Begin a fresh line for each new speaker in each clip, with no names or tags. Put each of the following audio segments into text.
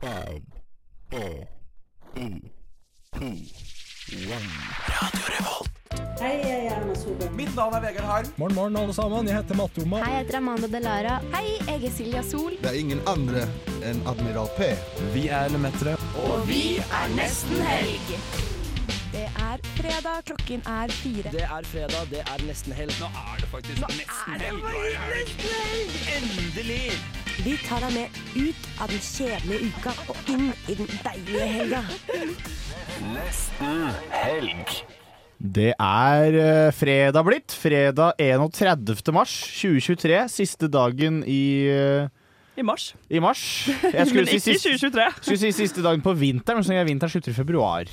Five, four, three, two, one.
Hei, jeg er Erna Solberg.
Mitt navn er Vegard Harm.
Morgen, morgen, alle sammen. Jeg heter Matte Oma.
Hei, jeg heter Amanda Delara. Hei, jeg er Silja Sol.
Det er ingen andre enn Admiral P.
Vi er Lemetere.
Det er fredag, klokken er fire.
Det er fredag, det er nesten helg. Nå er det faktisk nesten helg. Endelig!
Vi tar deg med ut av den kjedelige uka og inn i den deilige helga.
Det er eh, fredag blitt. Fredag 31. mars 2023. Siste dagen i, eh,
I mars.
i mars. Jeg
Men
skulle
ikke i
si, siste,
2023.
skulle si siste dagen på vinteren, men så tenker jeg vinteren slutter i februar.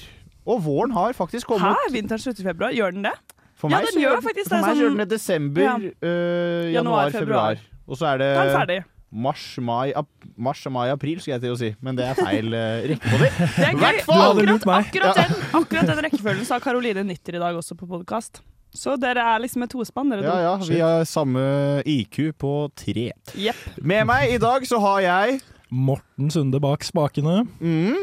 Og våren har faktisk
Hæ?
kommet.
Vinteren slutter i februar. Gjør den det?
For
Ja,
meg,
den
så
gjør
den-
faktisk det,
For meg så gjør
sånn-
den det desember,
Ja.
eh,
Januar,
januar, februar. Og så er det
Da er den ferdig.
mars, mai, ap mars, mai, april, skulle jeg til å si. Men det er feil eh, rekke på det.
Det er gøy.
Hvert fall!
Du hadde
Akkurat,
lurt meg.
akkurat, den, akkurat den rekkefølgen sa Karoline Nytter i dag også på podkast. Så dere er liksom et tospann, dere
Ja,
to.
ja, vi har samme IQ på tre.
Jepp.
Med meg i dag så har jeg
Morten Sunde bak spakene.
mm,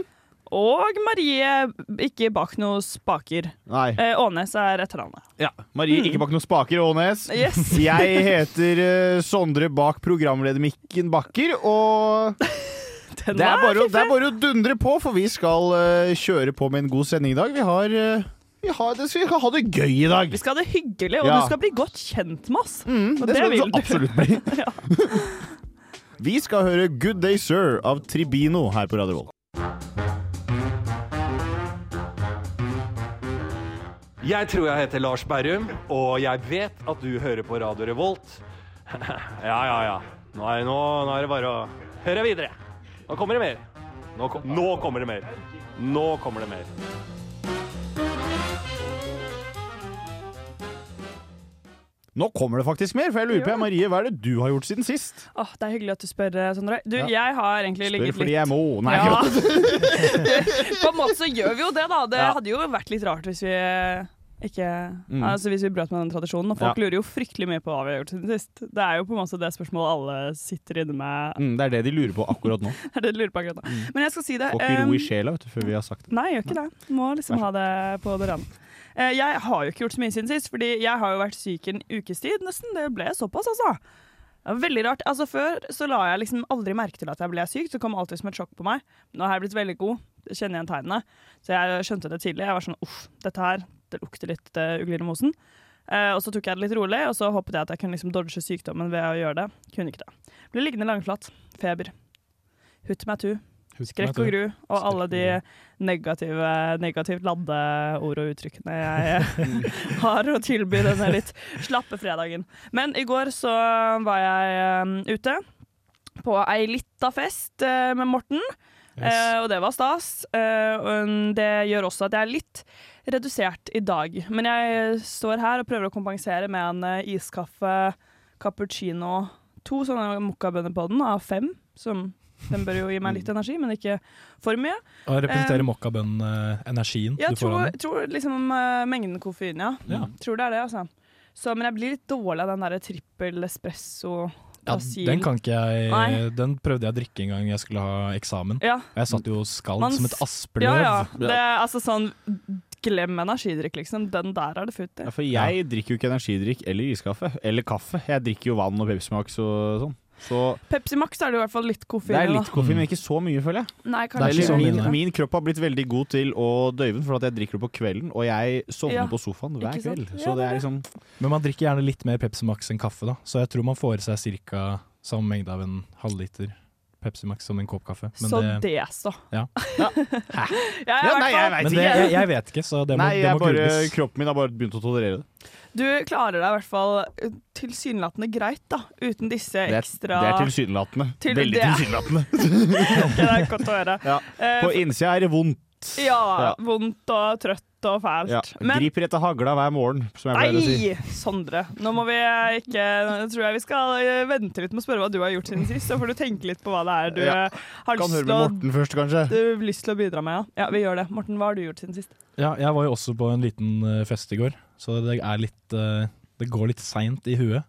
Og Marie ikke bak noen spaker.
Nei.
Eh, Ånes er etternavnet.
Ja, Marie, ikke bak noen spaker, Ånes.
Yes.
Jeg heter eh, Sondre bak programledermikken Bakker, og det
Den
er,
var
bare, å-
fiffig.
det er bare å dundre på, for vi skal eh, kjøre på med en god sending i dag. Vi har, eh, vi har det, vi skal ha det gøy i dag.
Vi skal ha det hyggelig, og
Ja.
du skal bli godt kjent med oss.
Mm,
og
det
det
skal det
vil
så
du.
absolutt bli. Vi skal høre Good Day Sir av Tribino her på Radio Volt.
Jeg tror jeg heter Lars Berrum, og jeg vet at du hører på Radio Revolt. Ja, ja, ja. Nå er, nå, nå er det bare å høre videre. Nå kommer det mer. Nå, kom, nå kommer det mer. Nå kommer det mer.
Nå kommer det faktisk mer, for jeg lurer på, Marie, hva er det du har gjort siden sist?
Åh, det er hyggelig at du spør, eh, Sondre. Du,
Ja.
jeg har egentlig
Spør
ligget litt
fordi jeg må. Nei,
Ja.
akkurat.
På en måte så gjør vi jo det, da. Det
Ja.
hadde jo vært litt rart hvis vi eh, ikke
Mm.
Altså hvis vi brøt med den tradisjonen. Og folk
Ja.
lurer jo fryktelig mye på hva vi har gjort siden sist. Det er jo på en måte det spørsmålet alle sitter inne med.
Mm, det er det de lurer på akkurat nå.
Er det de lurer på akkurat nå.
Mm.
Men jeg skal si det.
Får ikke ro
ehm,
i sjela vet du, før vi har sagt det.
Nei, jeg gjør ikke det. Må liksom ha det på det rene. Eh, Jeg har jo ikke gjort så mye siden sist, fordi jeg har jo vært syk en ukes tid nesten. Det ble såpass, altså. Det var veldig rart. Altså Før så la jeg liksom aldri merke til at jeg ble syk. Det kom alltid som et sjokk på meg. Nå har jeg blitt veldig god. Jeg Kjenner igjen tegnene. Så jeg skjønte det tidlig. Jeg var sånn uff, dette her, det lukter litt eh, ugler i mosen. Eh, og så tok jeg det litt rolig, og så håpet jeg at jeg kunne liksom dodge sykdommen ved å gjøre det. Kunne ikke det. Ble liggende langflat. Feber. Hutt meg tu. Skrekk og gru, og alle de negative, negativt ladde ord og uttrykkene jeg har å tilby denne litt slappe fredagen. Men i går så var jeg eh, ute på ei lita fest eh, med Morten, eh, og det var stas. Eh, og en- det gjør også at jeg er litt redusert i dag. Men jeg står her og prøver å kompensere med en eh, iskaffe, cappuccino, to sånne mokkabønner på den av fem, som den bør jo gi meg litt energi, men ikke for mye.
Og representerer mokkabønn-energien
Eh, Jeg
du får
tror,
av den.
tror liksom eh, mengden koffein, ja.
Ja.
Tror det er det, altså. Så, men jeg blir litt dårlig av den der trippel espresso
Ja,
brasil.
den kan ikke jeg
Nei.
Den prøvde jeg å drikke en gang jeg skulle ha eksamen.
Ja,
Og jeg satt jo og skalv
Man
som et
s-
aspeløv.
ja. ja. Det er altså sånn Glem energidrikk, liksom. Den der er det futt i.
Ja, for jeg drikker jo ikke energidrikk eller iskaffe eller kaffe. Jeg drikker jo vann og Pepsi Max og sånn. Så
Pepsi Max er det i hvert fall litt koffein
det er
i,
litt koffein, men ikke så mye, føler jeg.
da. Nei,
Det er
kanskje
ikke så
min,
mye, nei.
min kropp har blitt veldig god til å døyve den, for at jeg drikker det på kvelden, og jeg sovner
Ja,
på sofaen hver
ikke sant?
kveld.
Ja,
Så det er liksom
Men man drikker gjerne litt mer Pepsi Max enn kaffe, da. Så jeg tror man får i seg ca. samme mengde av en halvliter Pepsi Max som en kopp kaffe. Men,
Så
det,
det, så.
Ja.
Hæ? Jeg
Ja,
er i
Nei,
hvert
jeg
fall
veit
men det,
ikke.
jeg, jeg vet ikke, så det må,
Nei,
det
jeg
må
bare,
googles.
kroppen min har bare begynt å tolerere det.
Du klarer deg i hvert fall eh, tilsynelatende greit, da. Uten disse
Det er, det
ekstra
er tilsynelatende.
Til-
Veldig
det er-
tilsynelatende.
Det er godt å høre.
Ja.
Eh,
På innsida er det vondt.
Ja,
Ja.
vondt og trøtt og fælt.
Ja.
Men
Griper etter hagla hver morgen, som jeg pleier å si.
nei, Sondre. Nå må vi ikke Nå tror jeg vi skal eh, vente litt med å spørre hva du har gjort siden sist. Så får du tenke litt på hva det er du
Ja.
eh, har
Kan
lyst til,
høre med
å,
Morten først, kanskje.
du, har lyst til å bidra med. Ja. ja, vi gjør det. Morten, hva har du gjort siden sist?
Ja, jeg var jo også på en liten eh, fest i går, så det, er litt, eh,
Mm.
det går litt seint i huet.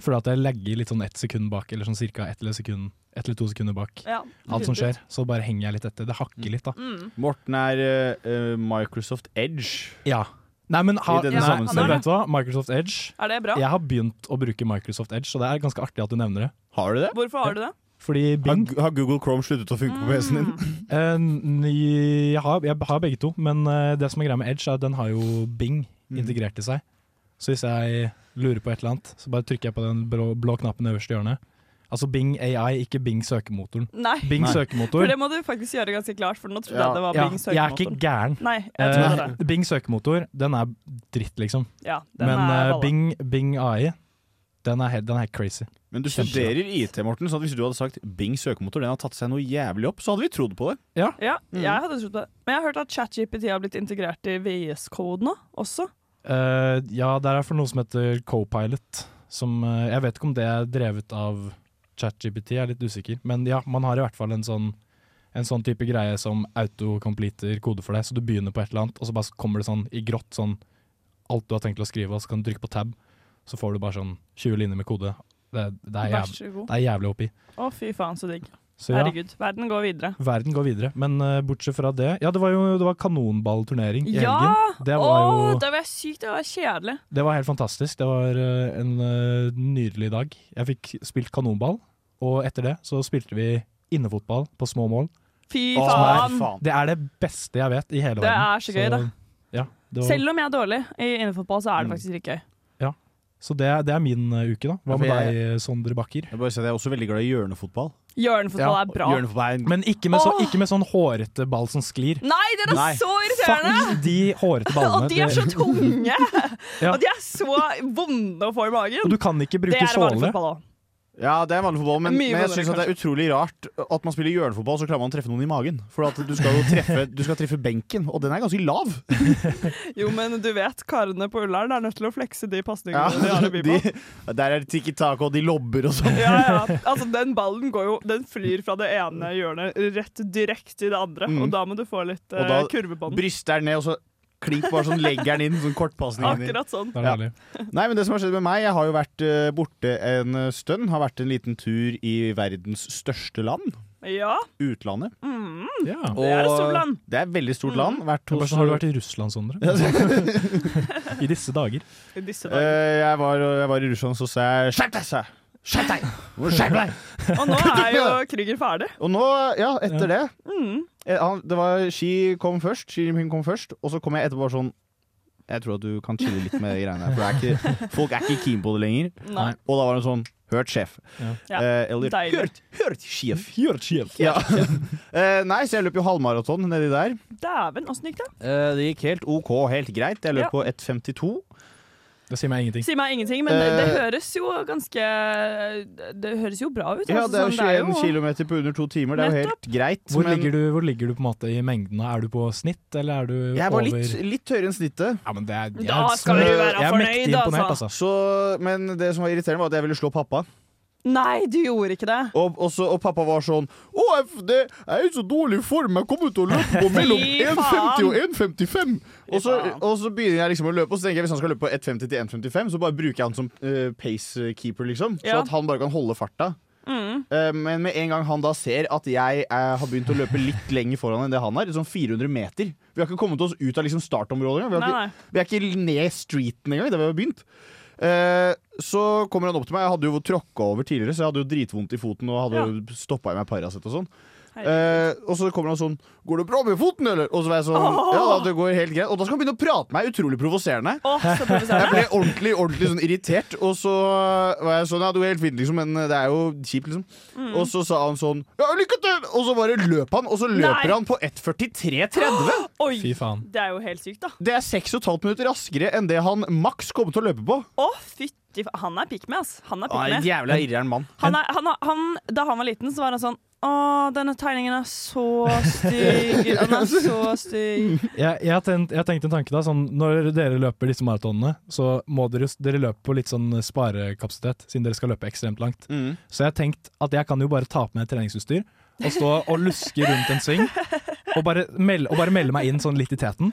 Fordi at jeg legger litt sånn ett sekund bak, eller sånn cirka ett eller sekund ett eller to sekunder bak.
Ja.
Alt som skjer. Så bare henger jeg litt etter. Det hakker litt, da.
Mm.
Morten er eh, eh, Microsoft Edge.
Ja. Nei, men, ha,
I denne
nei,
sammenhengen.
men vet du hva? Microsoft Edge.
Er det bra?
Jeg har begynt å bruke Microsoft Edge, så det er ganske artig at du nevner det.
Har du det?
Hvorfor har du det?
Fordi
Har,
Bing
har Google Chrome sluttet å funke på PC-en din?
Mm.
eh, n- jeg, har, jeg har begge to, men eh, det som er greia med Edge, er at den har jo Bing
Mm.
integrert i seg. Så hvis jeg lurer på et eller annet, så bare trykker jeg på den blå, blå knappen øverst i hjørnet. Altså Bing AI, ikke Bing søkemotoren.
Nei.
Bing
Nei.
søkemotor
For det må du faktisk gjøre ganske klart, for nå trodde
Ja.
jeg det var
ja,
Bing
Jeg er ikke
søkemotoren.
gæren.
Nei, jeg trodde det.
Eh, Bing søkemotor, den er dritt, liksom.
Ja, den
Men
er
eh,
balla.
Bing, Bing AI, den er, he- den er crazy.
Men du
Kjempebra.
studerer IT, Morten, så at hvis du hadde sagt Bing søkemotor, den har tatt seg noe jævlig opp, så hadde vi trodd på det.
Ja,
Mm.
jeg hadde trodd på det. Men jeg har hørt at ChatGPT har blitt integrert i VS-koden nå, også.
Eh, ja, der er for noe som heter Copilot. Som, eh, jeg vet ikke om det er drevet av ChatGPT, jeg er litt usikker. Men ja, man har i hvert fall en sånn, en sånn type greie som autocompleter kode for deg. Så du begynner på et eller annet, og så bare kommer det sånn i grått sånn alt du har tenkt å skrive, og så kan du trykke på tab, så får du bare sånn 20 linjer med kode. Det, det, er,
Vær
jævlig,
så god.
det er jævlig oppi.
Å, fy faen, så digg.
Så ja,
Herregud, verden går videre.
verden går videre. Men eh, bortsett fra det Ja, det var jo det var kanonballturnering i
Ja!
helgen. Det
Å,
var jo
det var sykt, det var kjedelig.
Det var helt fantastisk. Det var eh, en eh, nydelig dag. Jeg fikk spilt kanonball, og etter det så spilte vi innefotball på små mål.
Fy
Å,
faen!
faen.
Det er det beste jeg vet i hele
Det
verden.
er så gøy, da.
Ja, det var,
Selv om jeg er dårlig i innefotball, så er
Mm.
det faktisk litt gøy.
så det, det er min eh, uke, da.
Ja,
Hva med
for jeg-
deg, Sondre Bakker?
Jeg, bare sier at jeg er også veldig glad i hjørnefotball.
Hjørnefotball
Ja,
er bra.
Hjørnefotball er en
Men ikke med, så,
Åh!
ikke med sånn hårete ball som sklir.
Nei, dere er
Nei.
så irriterende!
Fuck de hårete ballene.
Og de er så
Det-
tunge!
Ja.
Og de er så vonde å få i magen.
og du kan ikke
Det
bruke
er vanlig
såle.
fotball òg.
Ja, det er vanlig fotball, men,
Mye
men jeg
vanligere,
syns det er utrolig rart at man spiller hjørnefotball, så klarer man å treffe noen i magen. For at du skal jo treffe, du skal treffe benken, og den er ganske lav.
Jo, men du vet, karene på Ullern er nødt til å flekse de pasningene de har å by
de,
på.
der er det tikki taka, og de lobber og sånn.
Ja, ja. Altså, den ballen går jo Den flyr fra det ene hjørnet rett direkte i det andre,
Mm.
og da må du få litt
Og
eh,
da
kurve på den.
Bryster den ned, og så klink bare sånn legger den inn. Sånn kortpasning. inn i-
Akkurat sånn.
Det er
Ja.
deilig.
Nei, men det som har skjedd med meg, jeg har jo vært eh, borte en eh, stund. Har vært en liten tur i verdens største land,
Ja.
utlandet.
Mm.
Ja.
Og
er et stort land. Mm.
Det er et veldig stort land. Vært
Men bare
hos
sånn, Har du vært i Russland, Sondre? I disse dager.
I disse
Eh,
dager.
jeg, var, jeg var i Russland, så sa jeg skjerp deg! sa jeg. Skjerp deg! Nå må du skjerpe deg!
Og nå er jo Krüger ferdig.
Og nå, ja, etter det
Mm.
eh, han, Det var Ski kom først, Xi Jinping kom først, og så kom jeg etterpå bare sånn Jeg tror at du kan chille litt med de greiene her, for det er ikke, folk er ikke keen på det lenger.
Nei.
Og da var hun sånn Hørt sjef.
Ja.
Ja,
Eh, eller
deilig.
hørt, hørt sjef.
Hjørtskjelv.
Ja. Eh, nei, så jeg løp jo halvmaraton nedi der.
Dæven, åssen gikk det?
Eh, det gikk helt OK, helt greit. Jeg løp
Ja.
på 1,52.
Det sier meg ingenting.
Si meg ingenting, men det, det
Eh.
høres jo ganske Det høres jo bra ut.
Ja,
altså,
det er
sånn,
jo 21 km på under to timer. Det er jo helt greit.
Hvor,
men-
ligger du, hvor ligger du på en måte i mengden? da? Er du på snitt, eller er du
Jeg var
over
litt, litt høyere enn snittet.
ja, men det er, jeg,
Da skal
du
være
jeg er
fornøyd,
mektig imponert,
altså.
altså.
Så, men det som var irriterende, var at jeg ville slå pappa.
Nei, du gjorde ikke det.
Og, og, så, og pappa var sånn Å, jeg- det jeg er jo så dårlig form. Jeg kommer til å løpe på mellom
Fy
1,50 og 1,55.
Fy
Og, så-
faen.
og så begynner jeg liksom å løpe, og så tenker jeg hvis han skal løpe på 1,50 til 1,55, så bare bruker jeg han som eh, pacekeeper, liksom. Så
Ja.
at han bare kan holde farta.
Mm.
Eh, men med en gang han da ser at jeg eh, har begynt å løpe litt lenger foran enn det han har, sånn 400 meter Vi har ikke kommet oss ut av liksom startområdet engang. Vi har
Nei,
ikke-
nei.
Vi er ikke ned streeten engang, der vi har begynt. Eh, så kommer han opp til meg. Jeg hadde jo tråkka over tidligere, så jeg hadde jo dritvondt i foten og hadde
Ja.
jo stoppa i meg Paracet og sånn.
Herregud.
Eh, og så kommer han sånn 'Går det bra med foten, eller?' Og så var jeg sånn
Åh!
Ja, da, det går helt greit. Og da skal han begynne å prate med meg. Utrolig provoserende.
Å, så
Jeg
provoserende.
ble ordentlig ordentlig sånn irritert, og så var jeg sånn Ja, det går helt fint, liksom, men det er jo kjipt, liksom.
Mm.
Og så sa han sånn Ja, lykke til! Og så bare løp han, og så løper
Nei.
han på 1.43,30.
Fy
Oi!
faen.
Det er jo helt sykt, da.
Det er 6,5 minutter raskere enn det han maks kommer til å løpe på.
Å, fytti fa- Han er pikk med, ass. Han er pikk med.
Ah, jævla irreren mann.
Han er, han, har- han, da han var liten, så var han sånn Å, denne tegningen er så stygg. Den er så stygg.
Jeg, jeg, har tenkt, jeg har tenkt en tanke, da. Sånn, når dere løper disse maratonene, så må dere, dere løpe på litt sånn sparekapasitet, siden dere skal løpe ekstremt langt.
Mm.
Så jeg har tenkt at jeg kan jo bare ta på meg treningsutstyr og stå og luske rundt en sving, og bare, melde, og bare melde meg inn sånn litt i teten.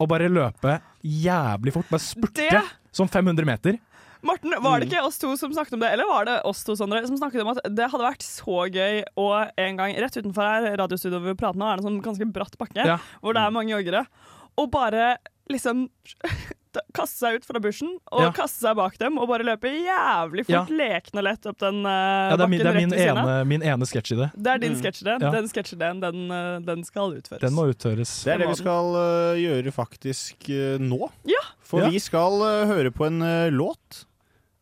Og bare løpe jævlig fort. Bare spurte
Det-
som 500 meter.
Morten, var det ikke oss to som snakket om det, eller var det oss to Sondre, som snakket om at det hadde vært så gøy å en gang rett utenfor her, radiostudioet vi prater nå, er det en sånn ganske bratt bakke
Ja.
hvor det er mange joggere, og bare liksom ta- kaste seg ut fra bushen og
Ja.
kaste seg bak dem og bare løpe jævlig fort,
Ja.
lekende lett opp den eh,
Ja, det er,
bakken
min, det er
rett
min,
ved siden av.
ene, min ene sketsj i det.
Det er din sketsjedeen.
Ja.
Den sketsjedeen, den, eh, den skal utføres.
Den må uthøres.
Det er det vi skal øh, gjøre faktisk øh, nå.
Ja.
For
Ja.
vi skal øh, høre på en øh, låt.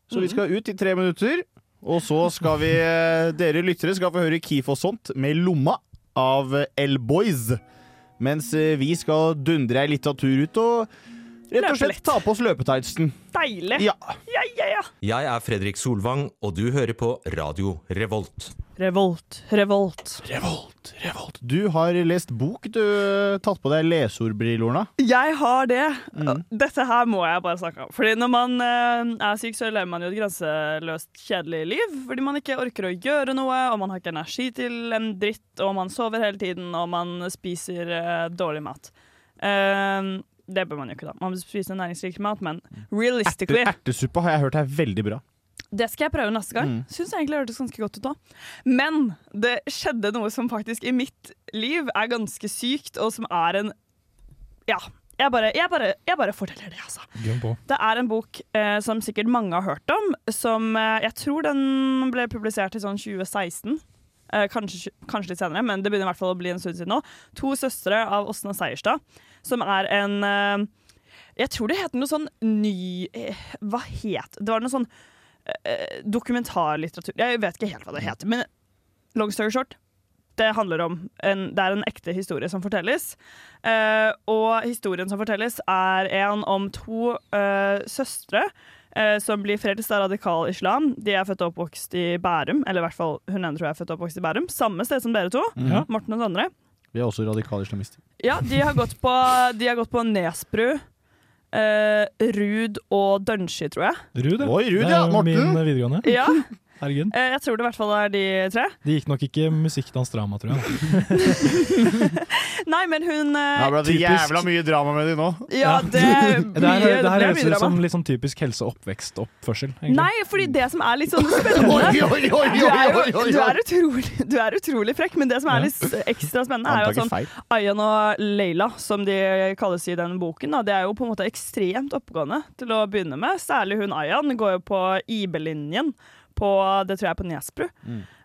Så vi skal ut i tre minutter. Og så skal vi øh, Dere lyttere skal få høre Kif og sånt med Lomma av øh, L-Boys. Mens øh, vi skal dundre ei lita tur ut og rett
Løpe
og slett
litt.
ta på oss løpetightsen.
Deilig!
Ja.
ja, ja, ja.
Jeg er Fredrik Solvang, og du hører på Radio Revolt.
Revolt, revolt.
Du har lest bok, du. øh, Tatt på deg leseordbriller, Lorna.
Jeg har det. Dette her må jeg bare snakke om. Fordi når man eh, er syk, så lever man jo et grenseløst kjedelig liv. Fordi man ikke orker å gjøre noe, og man har ikke energi til en dritt, og man sover hele tiden, og man spiser eh, dårlig mat. Eh, det bør man jo ikke, da. Man bør spise næringsrik mat, men realistically
Ertesuppa har jeg hørt er veldig bra.
Det skal jeg prøve neste gang. Synes jeg egentlig det hørtes ganske godt ut da. Men det skjedde noe som faktisk i mitt liv er ganske sykt, og som er en Ja. Jeg bare, jeg bare, jeg bare forteller det, altså.
Gønn på.
Det er en bok eh, som sikkert mange har hørt om, som eh, jeg tror den ble publisert i sånn 2016. Eh, kanskje, kanskje litt senere, men det begynner i hvert fall å bli en stund siden nå. To søstre av Åsne Seierstad, som er en eh, Jeg tror det het noe sånn ny... Eh, hva het Det var noe sånn eh, dokumentarlitteratur Jeg vet ikke helt hva det heter, men long story short det handler om en, Det er en ekte historie som fortelles. Eh, og historien som fortelles, er en om to eh, søstre eh, som blir frelst av radikal islam. De er født og oppvokst i Bærum, eller i hvert fall hun ene tror jeg er født og oppvokst i Bærum. Samme sted som dere to.
Ja.
Morten og Sondre.
Vi er også radikale islamister.
Ja, de har gått på, de har gått på Nesbru, eh, Rud og Dønski, tror jeg.
Ruud, ja.
Oi, Ruud,
Det er
ja,
jo
Morten.
Min videregående.
Ja,
Herregud.
eh, Jeg tror det i hvert fall er de tre.
Det gikk nok ikke musikk, dans, drama, tror jeg.
Nei, men hun eh,
Ja, ble det
typisk.
jævla mye drama med de nå.
Ja, det er mye,
Det her, det her
det er
høres
mye
ut
drama.
som litt sånn typisk helse-oppvekst-oppførsel. egentlig.
Nei, fordi det som er litt sånn spennende
Oi, oi, oi,
du er,
oi,
jo,
oi,
du,
oi.
er utrolig, du er utrolig frekk, men det som
Ja.
er litt ekstra spennende, er jo at sånn
feil.
Ayan og Leila, som de kalles i den boken, da, det er jo på en måte ekstremt oppegående til å begynne med. Særlig hun Ayan går jo på IB-linjen på det tror jeg er på Nesbru.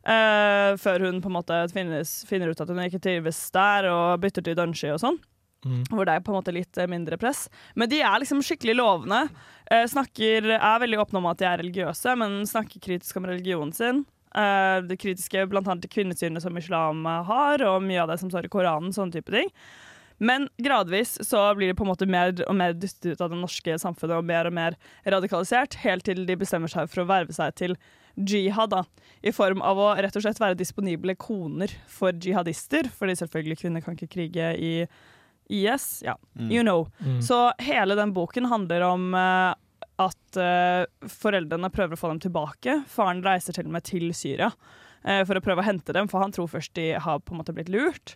Eh, før hun på en måte finnes, finner ut at hun ikke trives der, og bytter til Dunshie og sånn.
Mm.
Hvor det er på en måte litt eh, mindre press. Men de er liksom skikkelig lovende. Eh, snakker, er veldig åpne om at de er religiøse, men snakker kritisk om religionen sin. Eh, det kritiske blant annet til kvinnesynet som islam eh, har, og mye av det som står i Koranen. sånne type ting. Men gradvis så blir de på en måte mer og mer dyttet ut av det norske samfunnet og mer og mer radikalisert, helt til de bestemmer seg for å verve seg til jihad, da. I form av å rett og slett være disponible koner for jihadister, fordi selvfølgelig kvinner kan ikke krige i IS. Ja,
Mm.
you know. Så hele den boken handler om eh, at eh, foreldrene prøver å få dem tilbake. Faren reiser til og med til Syria eh, for å prøve å hente dem, for han tror først de har på en måte blitt lurt,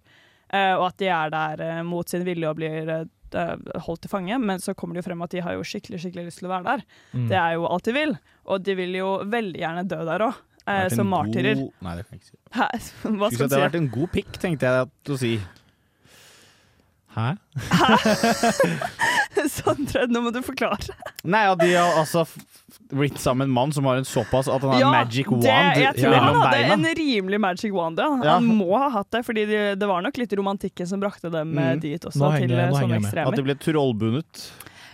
eh, og at de er der eh, mot sin vilje og blir eh, holdt til fange, men så kommer det jo frem at de har jo skikkelig skikkelig lyst til å være der.
Mm.
Det er jo alt de vil, og de vil jo veldig gjerne dø der òg, eh, som martyrer.
God... Nei, det kan jeg ikke si.
Hæ? Hva
Skulle si
skal
at det
du si?
har vært en god pikk, tenkte jeg at å si.
Hæ?
Sondre, nå må du forklare.
Nei, ja, de har altså f- f- blitt sammen med en mann som har en såpass at han har en magic wand
det, jeg tror han
mellom
hadde
beina.
en rimelig magic wand. Ja.
Ja.
Han må ha hatt det, Fordi det, det var nok litt romantikken som brakte dem eh,
Mm.
dit også,
Nå henger
til eh,
jeg- nå henger
sånne
jeg med.
ekstremer.
At de ble trollbundet.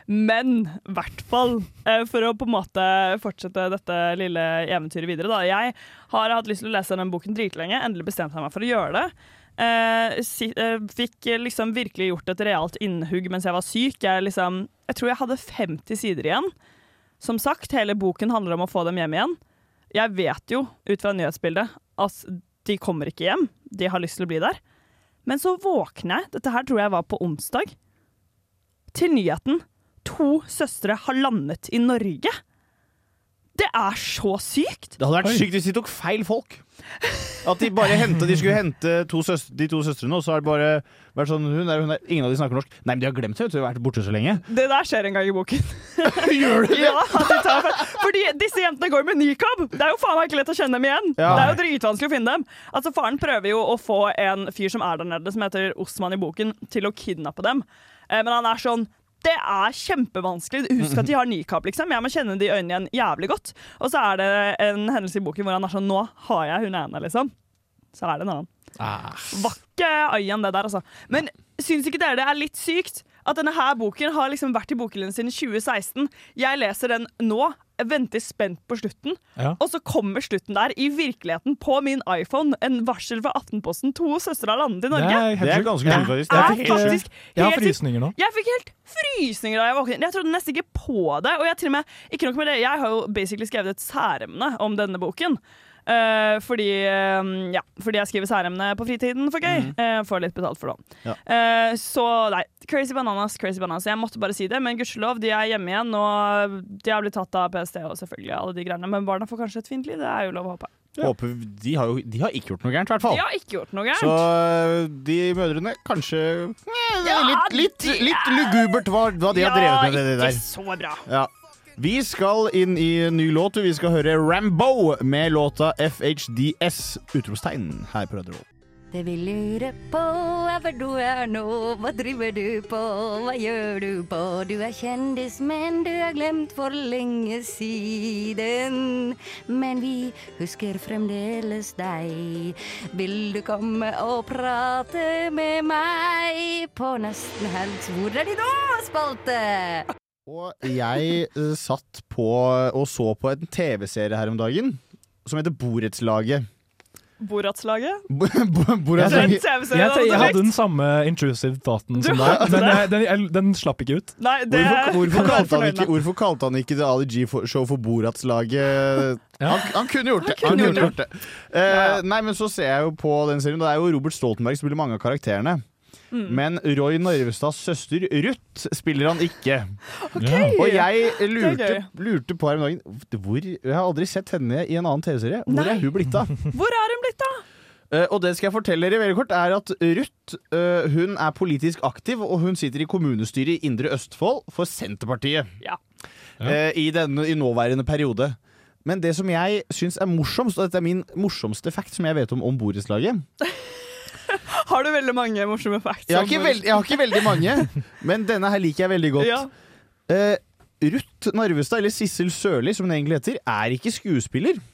Men i hvert fall, eh, for å på en måte fortsette dette lille eventyret videre, da. Jeg har hatt lyst til å lese den boken dritlenge. Endelig bestemte jeg meg for å gjøre det. Eh, si, eh, fikk eh, liksom virkelig gjort et realt innhugg mens jeg var syk. Jeg, liksom, jeg tror jeg hadde 50 sider igjen. Som sagt, hele boken handler om å få dem hjem igjen. Jeg vet jo, ut fra nyhetsbildet, at de kommer ikke hjem. De har lyst til å bli der. Men så våkner jeg, dette her tror jeg var på onsdag, til nyheten to søstre har landet i Norge. Det er så sykt!
Det hadde vært sykt hvis de tok feil folk. At de bare hentet, de skulle hente to søs- de to søstrene, og så har det bare vært sånn hun er, hun er, Ingen av de snakker norsk. Nei, men de har glemt det, vet du. De har vært borte så lenge.
Det der skjer en gang i boken.
Gjør det?
Ja, at de tar feil. Fordi disse jentene går med nikab! Det er jo faen meg ikke lett å kjenne dem igjen.
Ja.
Det er jo dritvanskelig å finne dem. Altså, Faren prøver jo å få en fyr som er der nede, som heter Osman i boken, til å kidnappe dem. Eh, Men han er sånn det er kjempevanskelig. Husk at de har nikab. liksom. Jeg må kjenne de øynene igjen jævlig godt. Og så er det en hendelse i boken hvor han er sånn Nå har jeg hun ene, liksom. Så er det en annen. Var ikke Ayan det der, altså. Men syns ikke dere det er litt sykt? At denne her boken har liksom vært i bokhyllen siden 2016. Jeg leser den nå, venter spent på slutten,
Ja.
og så kommer slutten der, i virkeligheten, på min iPhone. En varsel fra Aftenposten. To søstre har landet i Norge.
Det er
sjukt.
ganske sjukt, faktisk.
Det er
Jeg fikk, eh,
faktisk
Jeg har
helt sykt.
frysninger nå.
Jeg fikk helt frysninger da jeg våknet. Jeg trodde nesten ikke på det. Og jeg, til og med, ikke nok med det, jeg har jo basically skrevet et særemne om denne boken. Eh, fordi, eh, ja, fordi jeg skriver særemne på fritiden for gøy. Eh, får litt betalt for det.
Mhm. Ja.
Eh, så nei, crazy bananas, crazy bananas. Jeg måtte bare si det, men gudskjelov, de er hjemme igjen. Og de har blitt tatt av PST og selvfølgelig alle de greiene. Men barna får kanskje et fint liv, det er jo lov å håpe.
Håper de har jo de har ikke gjort noe gærent, i hvert fall.
De har ikke gjort noe
Så
gærent.
eh, de mødrene kanskje Nei, det er litt, litt, litt lugubert hva, hva de har drevet med. det
Ja,
der
ikke så bra.
Ja. Vi skal inn i en ny låt. Vi skal høre Rambo med låta FHDS! Utropstegn her på Radio Roll.
Det vi lurer på er hvor du er nå, hva driver du på, hva gjør du på? Du er kjendis, men du er glemt for lenge siden. Men vi husker fremdeles deg. Vil du komme og prate med meg på nesten helg? Hvor er de nå, spalte?
Og jeg eh, satt på og så på en TV-serie her om dagen som heter Borettslaget.
Borettslaget.
Bo- bo-
Det er en
Borettslaget.
TV-serie,
Jeg, te- jeg
altså,
hadde den samme intrusive thoughten
Du
som
hadde
deg, men jeg, den, jeg, den slapp ikke ut.
Nei, det
Hvorfor, hvorfor,
Vær
kalte han
fornøyd
ikke,
med.
hvorfor kalte han ikke det Ali G-show for Borettslaget?
Ja.
Han, han kunne gjort det!
Han
Han
kunne
kunne
gjort
gjort det. Eh, nei, men så ser jeg jo på den serien. og Det er jo Robert Stoltenberg som spiller mange av karakterene.
Mm.
Men Roy Narvestads søster Ruth spiller han ikke.
Ja.
Og jeg
Det
lurte,
er
lurte på her om dagen hvor, Jeg har aldri sett henne i en annen TV-serie. Hvor
Nei.
er hun blitt av?
Hvor er hun blitt, da?
Eh, og det skal jeg fortelle dere veldig kort, er at Ruth eh, hun er politisk aktiv, og hun sitter i kommunestyret i Indre Østfold for Senterpartiet.
Ja.
Eh, i, denne, I nåværende periode. Men det som jeg syns er morsomst, og dette er min morsomste fact som jeg vet om om borettslaget
Har du veldig mange morsomme facts?
jeg, har
om-
ikke veld- jeg har ikke veldig mange, men denne her liker jeg veldig godt.
Ja.
Eh, Ruth Narvestad, eller Sissel Sørli som hun egentlig heter, er ikke skuespiller.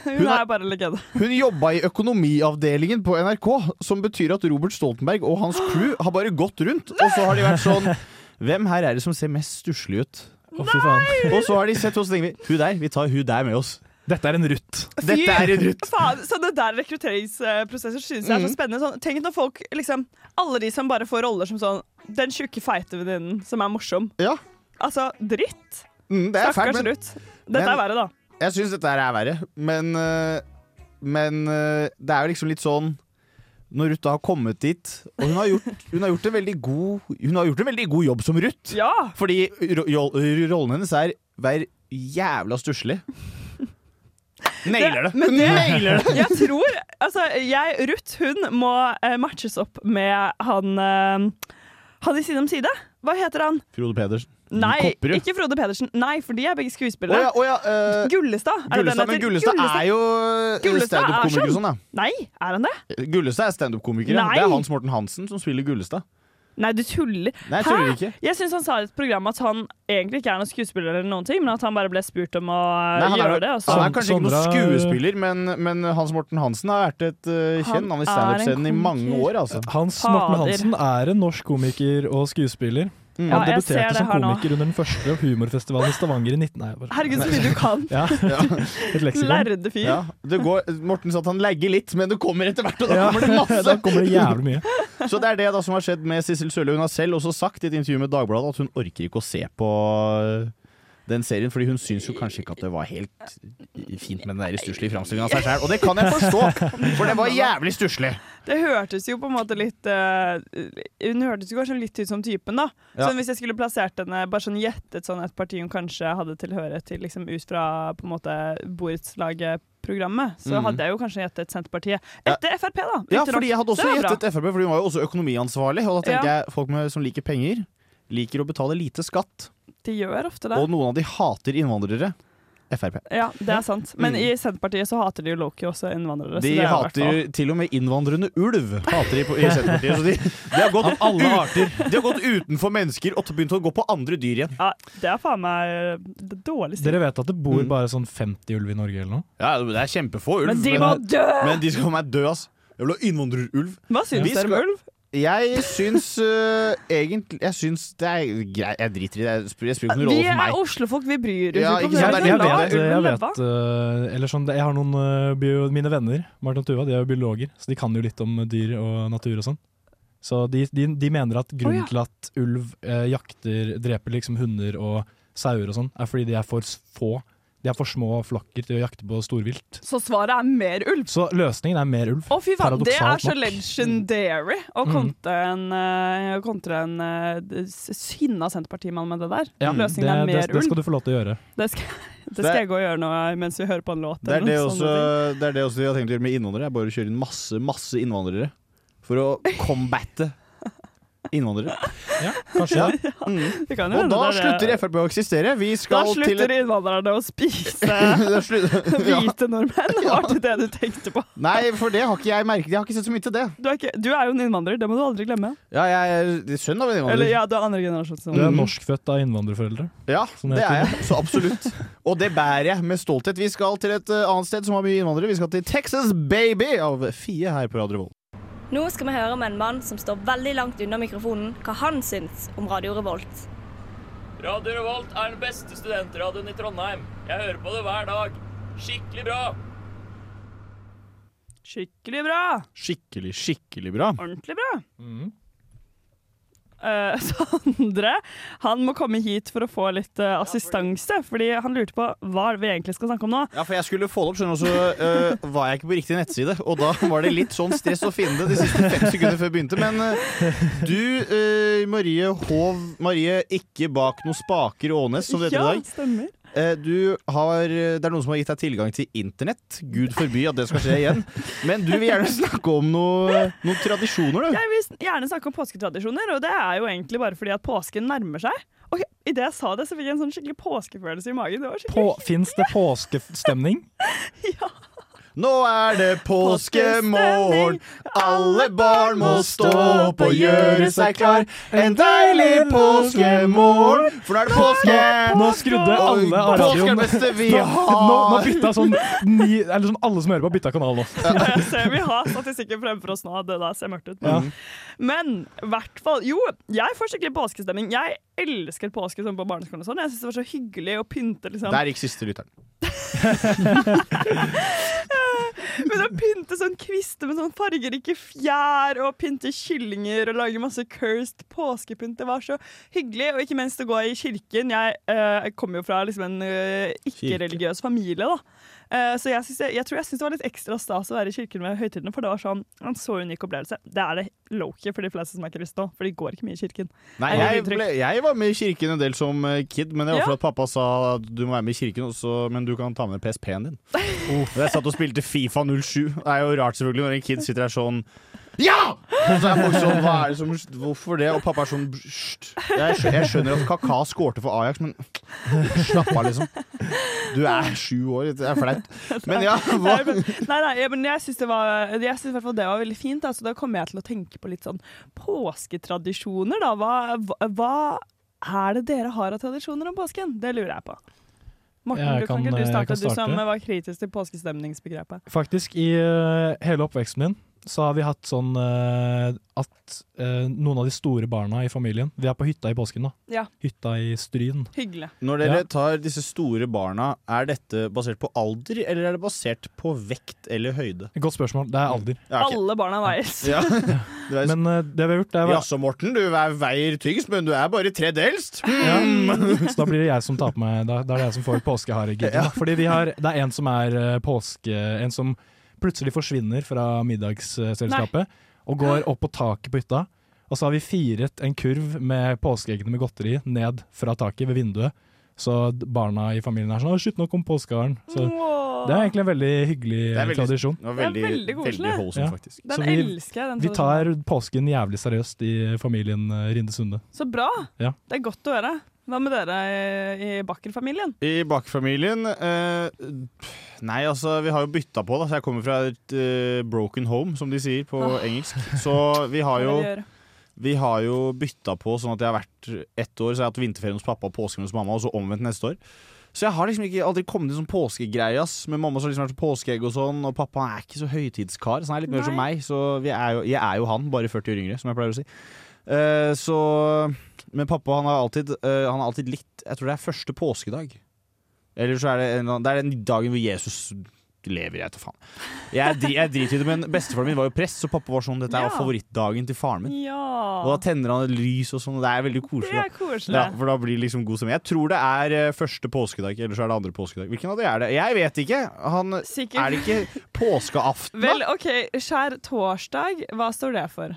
Hun,
Hun er-
er bare legende.
Hun jobba i økonomiavdelingen på NRK, som betyr at Robert Stoltenberg og hans crew har bare gått rundt, og så har de vært sånn Hvem her er det som ser mest stusslig ut?
Å, fy faen.
Og så har de sett oss og tenker vi, Hun der, vi tar hun der med oss.
Dette er en rutt.
Dette er en Ruth.
Faen, så det der rekrutteringsprosesser synes jeg er
Mm.
så spennende. Sånn, tenk når folk, liksom, alle de som bare får roller som sånn den tjukke, feite venninnen som er morsom.
Ja.
Altså, dritt.
Mm, det er fælt,
Stakkars
men
Ruth. Dette
men-
er verre, da.
jeg syns dette her er verre. Men, øh, men øh, det er jo liksom litt sånn når Ruth da har kommet dit Og hun har gjort, hun har gjort, en, veldig god, hun har gjort en veldig god jobb som Ruth.
Ja!
Fordi ro ro- rollen hennes er vær jævla stusslig. Nailer det!
men
Hun Nailer det!
Jeg tror Altså, jeg, Ruth, hun må eh, matches opp med han eh, Han i Side om side. Hva heter han?
Frode Pedersen.
Nei,
Kopperud.
ikke Frode Pedersen. Nei, for de er begge
Å
skuespillere.
ja, å ja, øh,
Gullestad. er det den
Gullestad, men
heter?
Gullestad er jo øh,
Gullestad er
standup-komiker. og
sånn.
Sånn, da.
Nei, er han det?
Gullestad er standup-komiker. ja.
Nei.
Det er Hans Morten Hansen som spiller Gullestad.
Nei, du tuller.
Nei, jeg tuller ikke.
Jeg syns han sa i et program at han egentlig ikke er noen skuespiller, eller noen ting, men at han bare ble spurt om å
Nei, han,
gjøre
er,
det. altså. og så-
han er kanskje ikke noen
Sondre-
skuespiller, men, men Hans Morten Hansen har vært et uh,
Han
kjent navn
er
i standup-scenen i
en
mange
komiker.
år. Altså.
Hans
Fader.
Morten Hansen er en norsk komiker og skuespiller.
Mm.
Ja,
Han
jeg ser
debuterte
det
som
her nå.
komiker under den første humorfestivalen i Stavanger i 19... Nei, jeg bare-
Herregud, så mye du kan.
Ja, et leksikon.
Lærde fyr.
Ja, det går, Morten sa at han legger litt, men det kommer etter hvert, og da kommer det
Da
masse!
kommer det jævlig mye.
Så det er det da som har skjedd med Sissel Sørli. Hun har selv også sagt i et intervju med Dagbladet at hun orker ikke å se på øh, den serien, fordi hun syns jo kanskje ikke at det var helt øh, fint med den der stusslige framstillinga av seg sjøl. Og det kan jeg forstå, for det var jævlig stusslig.
Det hørtes jo på en måte litt eh, Hun hørtes jo kanskje litt ut som typen, da.
Ja.
Sånn Hvis jeg skulle plassert henne, bare sånn gjettet sånn et parti hun kanskje hadde tilhørighet til liksom, ut fra på en måte borettslaget-programmet, så
Mhm.
hadde jeg jo kanskje gjettet Senterpartiet. Etter Frp, da.
Ja,
riktig nok.
fordi jeg
Så
hadde også
det var bra.
gjettet Frp, for hun var jo også økonomiansvarlig. Og da tenker
Ja.
jeg folk med, som liker penger, liker å betale lite skatt.
De gjør ofte det.
Og noen av de hater innvandrere. Frp.
Ja, det er sant. Men
Mm.
i Senterpartiet så hater de jo Loki også innvandrere. så det
De
er jo i hvert
hater
fall-
jo til og med innvandrende ulv. Hater de på, i Senterpartiet. Så de, de, har gått alle arter. de har gått utenfor mennesker og begynt å gå på andre dyr igjen.
Ja, det er faen meg eh, det dårligste.
Dere vet at det
Mm.
bor bare sånn 50 ulv i Norge eller noe?
Ja, Det er kjempefå ulv.
Men de må dø!
Men de skal faen meg dø, ass. Jeg vil ha innvandrerulv.
Hva syns
Vi
dere om
skal-
ulv?
Jeg syns øh, egentlig Jeg syns det er greit. Jeg driter i det. Jeg spiller- Jeg spiller ikke noen
Vi
rolle for
er
meg.
Oslofolk, vi bryr oss
Ja,
ikke om
ikke sant,
det.
det er
La
det.
jeg vet, jeg
ulven
vet
leve.
øh, eller sånn, jeg har noen øh, bio, Mine venner, Martin og Tuva, de er jo biologer, så de kan jo litt om dyr og natur og sånn. Så de, de, de mener at grunnen
Å, ja.
til at ulv eh, jakter, dreper liksom hunder og sauer og sånn, er fordi de er for s- få. De er for små flokker til å jakte på storvilt.
Så svaret er mer ulv.
Så løsningen er mer ulv.
Å, fy faen, det er
Paradoksalt
så
nok.
legendary å
Mm.
kontre en, eh, kontre en eh, sinna senterpartimann med det der.
Ja, det,
Løsningen er
det,
mer
det skal
ulv.
du få lov til å gjøre.
Det skal, det skal jeg gå og gjøre nå mens vi hører på en låt.
Det er
eller
det,
noe
også,
sånne ting.
det er det også de har tenkt å gjøre med innvandrere. er Bare å kjøre inn masse, masse innvandrere for å combatte innvandrere.
Ja, kanskje det.
Mm.
Det kan jo
Og
hende det
da
er det.
slutter Frp å eksistere. Vi
Da
skal til
slutter innvandrerne å spise
Da slutter- Ja.
hvite nordmenn. Var det det du tenkte på?
Nei, for det har ikke jeg merket. Jeg har ikke sett så mye til det.
Du er, ikke, du er jo en innvandrer, det må du aldri glemme.
Ja, jeg er sønn av en innvandrer.
Eller ja, du er andre generasjons
Du er
innvandrer.
norskfødt av innvandrerforeldre.
Ja,
Sånn
det
heter
er jeg. Så absolutt. Og det bærer jeg med stolthet. Vi skal til et eh, annet sted som har mye innvandrere. Vi skal til Texas Baby av Fie her på Radio Revolt.
Nå skal vi høre med en mann som står veldig langt unna mikrofonen, hva han syns om Radio Revolt.
Radio Revolt er den beste studentradioen i Trondheim. Jeg hører på det hver dag. Skikkelig bra!
Skikkelig bra!
Skikkelig, skikkelig bra.
Ordentlig bra. Eh, Sondre han må komme hit for å få litt eh, assistanse, fordi han lurte på hva vi egentlig skal snakke om nå.
Ja, for jeg skulle få det opp, skjønner du, så øh, var jeg ikke på riktig nettside. Og da var det litt sånn stress å finne det de siste fem sekundene før jeg begynte. Men øh, du, øh, Marie Hov Marie, ikke bak noen spaker Ånes, som det heter
ja,
i dag.
stemmer.
Eh, Du har, det er noen som har gitt deg tilgang til internett. Gud forby at det skal skje igjen. Men du vil gjerne snakke om noe, noen tradisjoner, du.
Jeg vil Eh, gjerne snakke om påsketradisjoner, og det er jo egentlig bare fordi at påsken nærmer seg. Og idet jeg sa det, så fikk jeg en sånn skikkelig påskefølelse i magen. Det var skikkelig
På, Fins det påskestemning?
Nå er det påskemorgen. Alle barn må stå opp og gjøre seg klar. En deilig påskemorgen, for nå er det påske!
Nå skrudde alle
Påske er
av
det
radioen.
beste vi
Nå, nå, nå
har!
bytta sånn ni, Eller sånn alle som hører på, bytta kanal nå.
Jeg ser vi har statistikken fremfor oss nå. Det der ser mørkt ut. Men, men i hvert fall Jo, jeg får skikkelig påskestemning. Jeg elsket påske sånn på barneskolen og sånn. Jeg synes det var så hyggelig å pynte, liksom.
Der gikk siste lytteren.
Men å pynte sånn kvister med sånn fargerike fjær, og pynte kyllinger og lage masse cursed påskepynt, det var så hyggelig. Og ikke minst å gå i kirken. Jeg eh, kommer jo fra liksom en eh, ikke-religiøs familie, da. Eh, så jeg, synes det- jeg tror jeg syns det var litt ekstra stas å være i kirken med høytidene, for det var sånn en så unik opplevelse. Det er det low-key for de fleste som er kristne òg, for de går ikke mye i kirken.
Nei,
Er det
jeg,
ditt inntrykk?
ble, jeg var med i kirken en del som eh, kid, men det var
Ja.
fordi at pappa sa at du må være med i kirken, også, men du kan ta med PSP-en din. Og Jeg satt og spilte Fifa 07. Det er jo rart selvfølgelig når en kid sitter der sånn Ja! Og så er folk sånn, hva er det som, hvorfor det? Og pappa er sånn «Hysj». jeg, skjø- jeg skjønner at Kaka skårte for Ajax, men slapp av, liksom. Du er sju år, det er flaut. Men ja, hva?
Nei, men, nei, nei, jeg- men jeg syns det var Jeg synes i hvert fall det var veldig fint. Da, så da kommer jeg til å tenke på litt sånn påsketradisjoner, da. Hva, hva, hva er det dere har av tradisjoner om påsken? Det lurer jeg på. Morten,
Jeg
du kan,
kan- eh,
ikke du
jeg
starte,
kan
du som
starte.
var kritisk til påskestemningsbegrepet.
Faktisk, i eh, hele oppveksten min så har vi hatt sånn eh, at eh, noen av de store barna i familien Vi er på hytta i påsken nå.
Ja.
Hytta i Stryn.
Hyggelig.
Når dere tar disse store barna, er dette basert på alder, eller er det basert på vekt eller høyde?
Godt spørsmål. Det er alder.
Alle barna veies.
Ja.
Men eh, det vi har gjort, det er
Jaså, Morten, du er- veier tyngst, men du er bare tredelt eldst! Mm.
Så da blir det jeg som tar på meg Da, da er det jeg som får påskeharegidden. da. Fordi vi har, det er en som er eh, påske... En som plutselig forsvinner fra middagsselskapet og går opp på taket på hytta. Og så har vi firet en kurv med påskeeggene med godteri ned fra taket ved vinduet. Så d- barna i familien er sånn 'Å, slutt, nå kom påskeharen'. Så
Wow.
det er egentlig en veldig hyggelig
Det er veldig-
tradisjon.
det var veldig- Det er veldig koselig. veldig wholesome, faktisk.
Den
Så vi,
elsker jeg, den
Vi tar påsken jævlig seriøst i familien eh, Rinde Sunde.
Så bra!
Ja.
Det er godt å høre. Hva med dere i, i Bakker-familien?
I bakfamilien eh, Nei, altså, vi har jo bytta på, da. Så jeg kommer fra et eh, broken home, som de sier på
Ah.
engelsk. Så vi har jo vi har jo bytta på sånn at jeg har vært ett år, så jeg har hatt vinterferie hos pappa og påsken hos mamma, og så omvendt neste år. Så jeg har liksom ikke aldri kommet inn sånn påskegreie, ass. Men mamma så har liksom vært på påskeegg og sånn, og pappa er ikke så høytidskar, så han er litt mer som meg. Så vi er jo, jeg er jo han, bare 40 år yngre, som jeg pleier å si. Eh, så Men pappa, han har alltid, eh, han har alltid likt Jeg tror det er første påskedag. Eller så er det, en, eller annen- det er den dagen hvor Jesus lever, jeg vet da faen. Jeg, dri- jeg driter i det, men bestefaren min var jo prest, så pappa var sånn Dette
Ja.
er favorittdagen til faren min.
Ja.
Og da tenner han et lys og sånn, og det er veldig koselig.
Det er
da.
koselig.
Ja, for da blir det liksom god stemning. Jeg tror det er eh, første påskedag, eller så er det andre påskedag. Hvilken av de er det? Jeg vet ikke! Han, er det ikke påskeaften, da?
Vel, OK, skjær torsdag, hva står det for?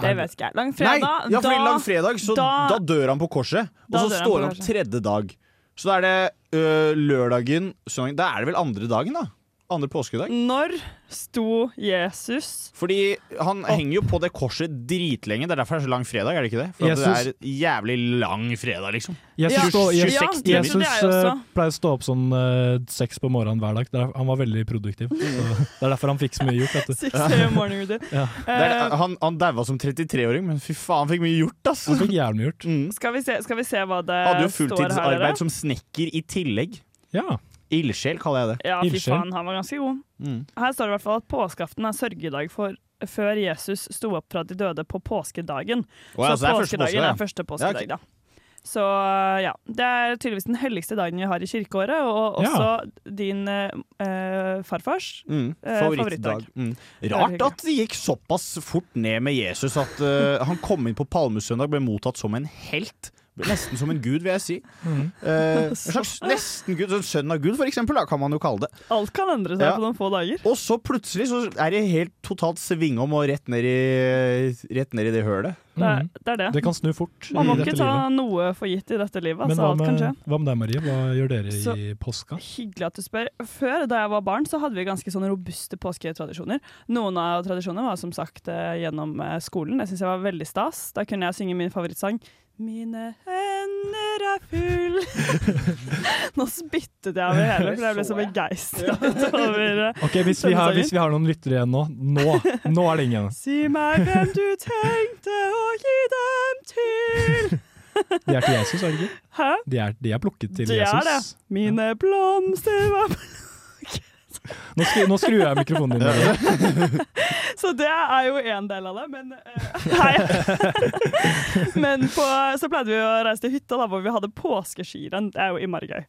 Det
Er det-
vet ikke jeg.
Nei,
Langfredag?
ja, fordi langfredag, så da, dør han på korset. Og
Da
så
dør han
står
på
han opp
korset.
tredje dag. Så da er det ø, lørdagen, søndagen Da er det vel andre dagen, da? Andre påskedag.
Når sto Jesus
Fordi han henger jo på det korset dritlenge. Det er derfor det er så lang fredag, er det ikke det? For at
Jesus-
det er jævlig lang fredag, liksom.
Jesus, stå,
Tjue-
Je-
26 timer.
Jesus eh, pleier å stå opp sånn eh, seks på morgenen hver dag. Det er- han var veldig
Mm.
produktiv. Så det er derfor han fikk så mye gjort. Vet du.
Six AM morning routine.
Ja.
Det er, eh, han han daua som 33-åring, men fy faen, han fikk mye gjort, ass! Han
fikk jævlig gjort.
Skal vi se, skal vi se hva det
Hadde jo
står her? dere?
fulltidsarbeid som snekker i tillegg.
Ja.
Ildsjel, kaller jeg det.
Ja, fy faen, han var ganske god.
Mm.
Her står det i hvert fall at påskeaften er sørgedag for før Jesus sto opp fra de døde på påskedagen.
Å ja, så
så
det er første påskedag,
påskedagen
ja.
er første
Ja,
påskedag,
ok.
da. Så eh, ja. Det er tydeligvis den helligste dagen vi har i kirkeåret, og også din eh, farfars
Mm,
eh,
favorittdag. Mm. Rart at det gikk såpass fort ned med Jesus at eh, han kom inn på Palmesøndag, ble mottatt som en helt. Ble Nesten som en gud, vil jeg si.
Mm.
Mhm.
Eh, en slags nesten gud, sånn sønn av Gud, for eksempel, da, kan man jo kalle det.
Alt kan endre seg
Ja.
på noen få dager.
Og så plutselig så er det helt totalt svingom og rett ned i, rett ned i det hølet.
Det er, det er det.
Mhm. Det kan snu fort
Man må
i dette
ikke ta
livet.
noe for gitt i dette livet.
Men
Altså,
hva
alt kan skje.
med, hva med deg, Marie? Hva gjør dere i
Så-
påska?
Hyggelig at du spør. Før, da jeg var barn, så hadde vi ganske sånne robuste påsketradisjoner. Noen av tradisjonene var som sagt eh, gjennom eh, skolen. Det syns jeg var veldig stas. Da kunne jeg synge min favorittsang. Mine hender er full Nå spyttet jeg over hele, for jeg ble så begeistra over eh,
Ok, hvis vi,
denne
har,
sangen.
hvis vi har noen lyttere igjen nå, nå, nå er det ingen igjen.
Si meg hvem du tenkte å gi dem til.
De er til Jesus, er det ikke?
Hæ?
De er, de er plukket til
Det er det.
Jesus.
Mine blomster var
Nå, skru, nå skrur jeg mikrofonen din. Marie.
Så det er jo en del av det, men eh, Nei. men på, så pleide vi å reise til hytta da, hvor vi hadde påskeskirenn. Det er jo innmari gøy.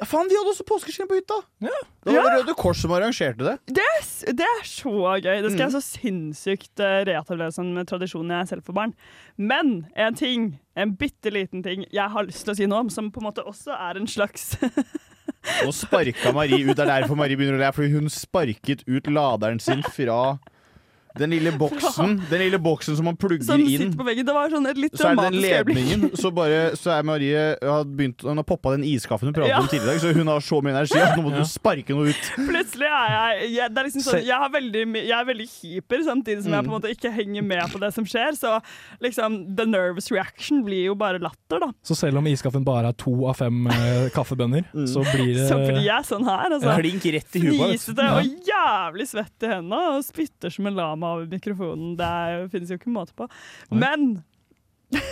Ja, faen, vi hadde også påskeskinn på hytta! Det
Ja.
var det Røde Kors som arrangerte det.
Det er, s- det er så gøy. Det skal jeg
Mm.
så sinnssykt eh, reetablere som en tradisjon jeg selv får barn. Men en ting, en bitte liten ting, jeg har lyst til å si noe om, som på en måte også er en slags
Nå sparka Marie ut. Det er derfor Marie begynner å le, fordi hun sparket ut laderen sin fra den lille boksen Den lille boksen som man plugger
Som
inn.
sitter på veggen. Det var sånn et litt
Så er det den
traumatisk
ledningen. Så, bare, så er Marie har begynt, Hun har poppa den iskaffen hun pratet
Ja.
om tidligere i dag, så hun har så mye energi at nå må
Ja.
du sparke noe ut.
Plutselig er jeg jeg, det er liksom sånn,
Se-
jeg, har veldig, my- jeg er veldig hyper, samtidig som jeg
Mm.
på en måte ikke henger med på det som skjer. Så liksom, the nervous reaction blir jo bare latter, da.
Så selv om iskaffen bare er to av fem eh, kaffebønner, så blir det
Så blir jeg sånn her, altså.
Klink rett i huet. bare.
Fnisete og jævlig svett i hendene og spytter som en lama over mikrofonen. Det er- finnes jo ikke måte på. Men det